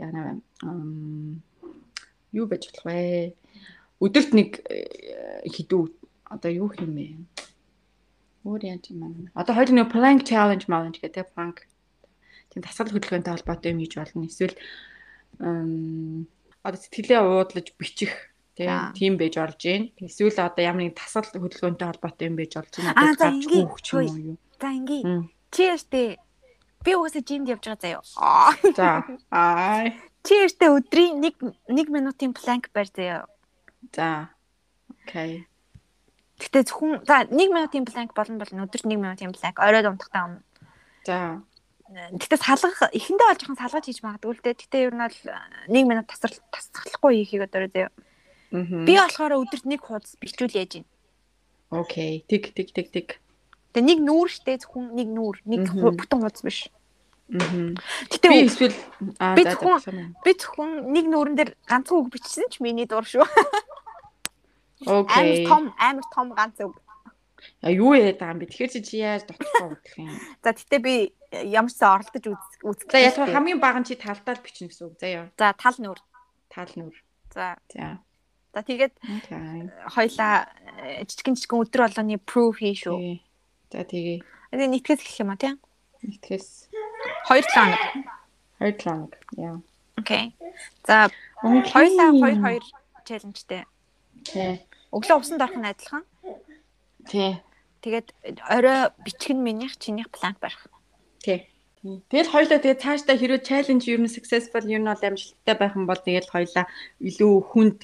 S2: яана ам юу байж болох вэ? Өдөрт нэг э, хідүү одоо юу хэмээ? Өөр яаж юм аа. Одоо хоёул нэг plank challenge challenge гэдэг plank. Тийм дасгал хөдөлгөөнтэй холбоотой юм хийж болно. Эсвэл ам одоо сэтгэлээ уудлаж бичих
S1: За.
S2: тийм тийм байж орж гин. Эсвэл одоо ямар нэг дасгал хөдөлгөөнтэй холбоотой юм байж орж гин.
S1: Аа, за, ингийн. Хөөе.
S2: юм юу?
S1: За ингээ.
S2: Мм.
S1: Чиэртэй. Би угаасаа жимд явж байгаа заяа. Аа.
S2: За. Аа.
S1: Чиэртэй өдрийн 1 1 минутын планк барь заяа.
S2: За. Окей.
S1: Гэтэ зөвхөн за 1 минутын планк болно бол өдөрт 1 минутын планк оройд унтахтаа өмнө.
S2: За.
S1: Гэтэ салгах эхэндээ олж хан салгаж хийж магадгүй л дээ. Гэтэ ер нь бол 1 минут тасрал тасрахгүй хийхийг одоо заяа.
S2: Мгм.
S1: Би болохоор өдөрт 1 хуудас бичүүл яаж юм.
S2: Окей. Тик тик тик тик.
S1: Тэгээ нэг нүүр штэ зөвхөн нэг нүүр, нэг
S2: Мгм.
S1: хуу- бүтэн хуудас биш.
S2: Мгм. Би
S1: Гэтэ
S2: эсвэл аа
S1: би
S2: за
S1: зөвхөн-
S2: за.
S1: би зөвхөн нэг нүүрэн дээр ганцхан үг бичсэн ч миний дур шүү. Амар
S2: Окей.
S1: том, амар том ганц үг.
S2: А юу яа даа би. Тэгэхээр чи чи яаж дотгохгүй гэх юм.
S1: За тэгтээ би э, ямар ч сан оролдож үзэх үзэх.
S2: За яг хамгийн бага нь чи талтаал бичнэ гэсэн үг. За яа.
S1: За тал нүр.
S2: Таал нүр.
S1: За
S2: За.
S1: за тэгээд
S2: Окей.
S1: хоёлаа э, жижигэн жижигэн өдрө болгоны proof хий шүү.
S2: Тий. За тэгээ.
S1: Энэ нэгтгэс гэх юм а тийм.
S2: Нэгтгэс
S1: Хоёр талаа.
S2: хоёр талаг. Яа.
S1: Окей. За хоёлаа хоёр хоёр челленжтэй.
S2: Тий.
S1: Өглөө усанд орох нь адилхан.
S2: Тий.
S1: Тэгээд орой бичих нь минийх, чинийх план барих.
S2: Тий. Тэгэл хоёлаа тэгээ цаашдаа хэрвээ challenge ер нь successful ер нь бол амжилттай байх юм бол тэгэл хоёлаа илүү хүнд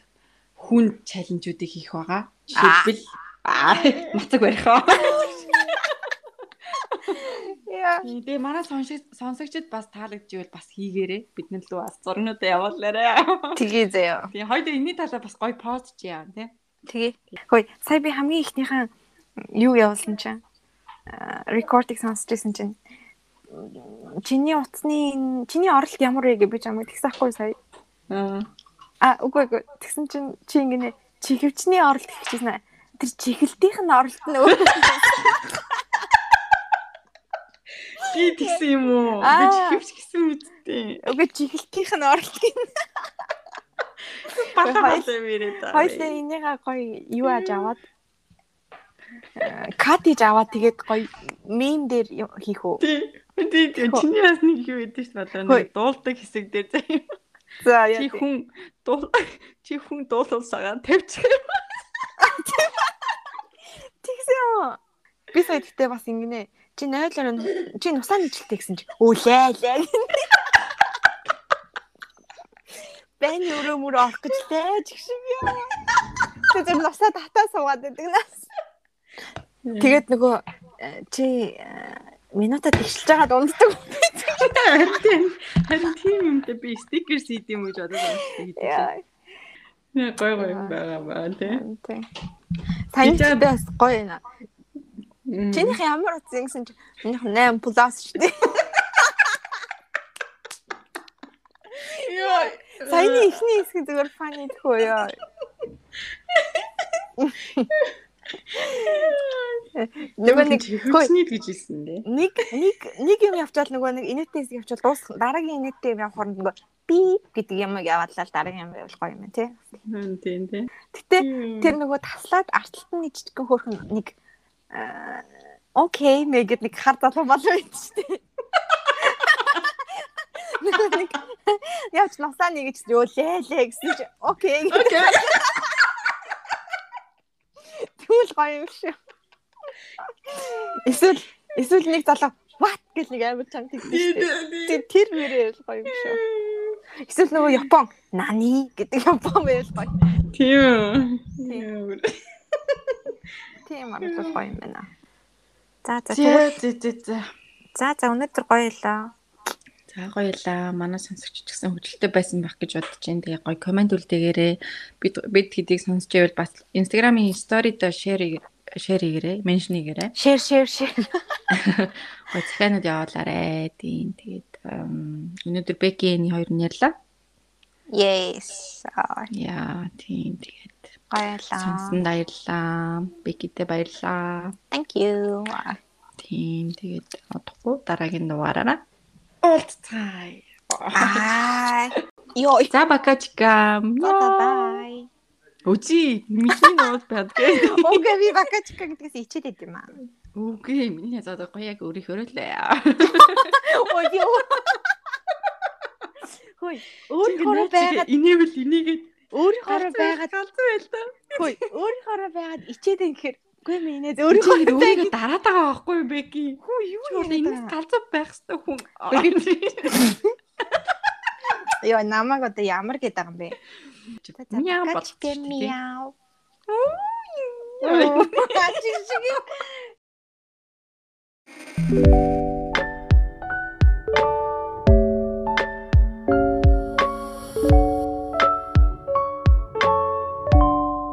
S2: хүнд challenge-уудыг хийх байгаа. Жишээлбэл аа мацаг барих аа.
S1: Яа.
S2: Тэгээ манай сонсогч сонсогчд бас таалагдчихвэл бас хийгээрээ бидний л бас зургнуудаа явуулаарэ.
S1: Тгий заяа.
S2: Тэгээ хоёлаа энэний талаа бас гоё пост чи яа тий.
S1: Тгий. Хөөе, сая би хамгийн ихнийхэн юу явуулсан чинь Э, аа, рекордыг сонсчихсан чинь чиний утасны чиний оролт ямар вэ гэж би чамд тэгсэн хгүй сая.
S2: Аа.
S1: А үгүй үгүй тэгсэн чинь чи ингэнэ чихвчний оролт хийчихсэн аа. Тэр чихэлтийнх нь оролт нь өөр.
S2: Би тэгсэн юм уу? Би
S1: Аа.
S2: чихвч гэсэн мэдтээ.
S1: Үгүй чихэлтийнх нь оролт гин.
S2: Бага хойлоо мэрээ даа.
S1: Хоёлаа энийгээ гоё юу ааж аваад аа, катэж аваад тэгээд гоё мем дээр юм хийх үү.
S2: Тий. Тий, тий. Чиний бас нэг юу өгдөө ш надад нэг дуулдаг хэсэг дээр заа юм.
S1: За яа.
S2: Чи хүн дуул чи хүн дуулуулсагаа тавьчих.
S1: Тэгсэн юм. Би сая тэгтээ бас ингэнэ. Чи 0 орон чи нусаа нэчлээ гэсэн чи. Үлээ лээ. Бэн өрөө мөр орох гэж лээж гшиг юм. Тэ зөв нусаа татаа суугаад байдаг нас. Тэгээд нөгөө э, чи э, минутад тэгшилж байгаад унддаг.
S2: Харин тийм. Харин тийм юм дэ би стикер сийд юм гэж бодож байна.
S1: Яа.
S2: Гой гой юм байгаа баа тий.
S1: Тэ. Сайн ч бас гоё байна.
S2: Чиний
S1: Чинийх ямар утас юм гэсэн чи минийх 8 plus шүү дээ.
S2: ёо.
S1: Саяны эхний хэсэг зүгээр funny тхөө ёо. Нөгөө нэг хөөе,
S2: хөөсний гэж хэлсэн дээ.
S1: нэг нэг нэг юм явчаал нөгөө нэг инээтэй хэсэг явчаал дуусах дараагийн инээтэй юм явах хооронд нөгөө би гэдэг юм яваалаа дараагийн юм байвал гоё юм тий.
S2: Хүн тийм тий.
S1: Гэтэ тэр нөгөө таслаад арталт нь нэг жижигхэн хөөрхөн нэг аа, окей мэгэд нэг хар залуу болов юм чи тээ. Нөгөө нэг явж нусаа нэг гэж юу лээ лээ гэсэн чи окей гэдэг
S2: Окей.
S1: түүл гоё юм шүү. Эсвэл эсвэл нэг залуу what гэж нэг амар чанга тэгсэн шүү дээ. Тэг- Тэр мөрөөр л гоё юм шүү. Эсвэл нөгөө Япон nani гэдэг Япон байл гоё.
S2: Тийм.
S1: Тийм амар гоё юм байна. За за тэгвэл-
S2: За за за за.
S1: за за өнөөдөр гоё лээ.
S2: За гоёлаа. Манай сонсогч ч гэсэн хөжилтэй байсан байх гэж бодож байна. Тэгээ гоё комент үлдээгээрээ бид бид хэдийг сонсч байвал бас Instagram-ийн story до share share хийгээрээ, mention хийгээрээ.
S1: Share share share.
S2: Гоё захианууд явуулаарэ. Тийм. Тэгээд ам, өнөөдөр Becky-ийн хоёр нь ярьлаа.
S1: Yes. Аа,
S2: Яа, тийм. Тэгээд
S1: Гоё лээ.
S2: сонсонд баярлалаа. Becky-тэй баярлалаа.
S1: Thank you.
S2: Тийм. Тэгээд одохгүй дараагийн дугаараараа уулзцай.
S1: Bye. Йой.
S2: За бакачка.
S1: Bye.
S2: Бабай. Үгүй, миний нот байдгаа.
S1: Окей, би бакачка гэдгээс ичээд байт юм аа.
S2: Үгүй миний зад гоё яг өөрийнхөө л
S1: Ой, ёо. Хөөе, өөрөөр байгаад
S2: инээвэл энийгээд
S1: өөрөөр байгаад
S2: галзуу байл та.
S1: хөөе, өөрөөр байгаад ичээд юм гэхээр үгүй минь нэ өөрөөр
S2: Өөрийнхөө
S1: байгаад
S2: өөрийгөө дараад байгаа байхгүй юу Бэки? Хүү юу юм энэ галзуу байх ёстой хүн.
S1: ёо намаг одоо ямар гээд байгаа юм бэ?
S2: Мяа
S1: Бакачка
S2: болчихсон.
S1: мяу.
S2: Ой.
S1: Бакачка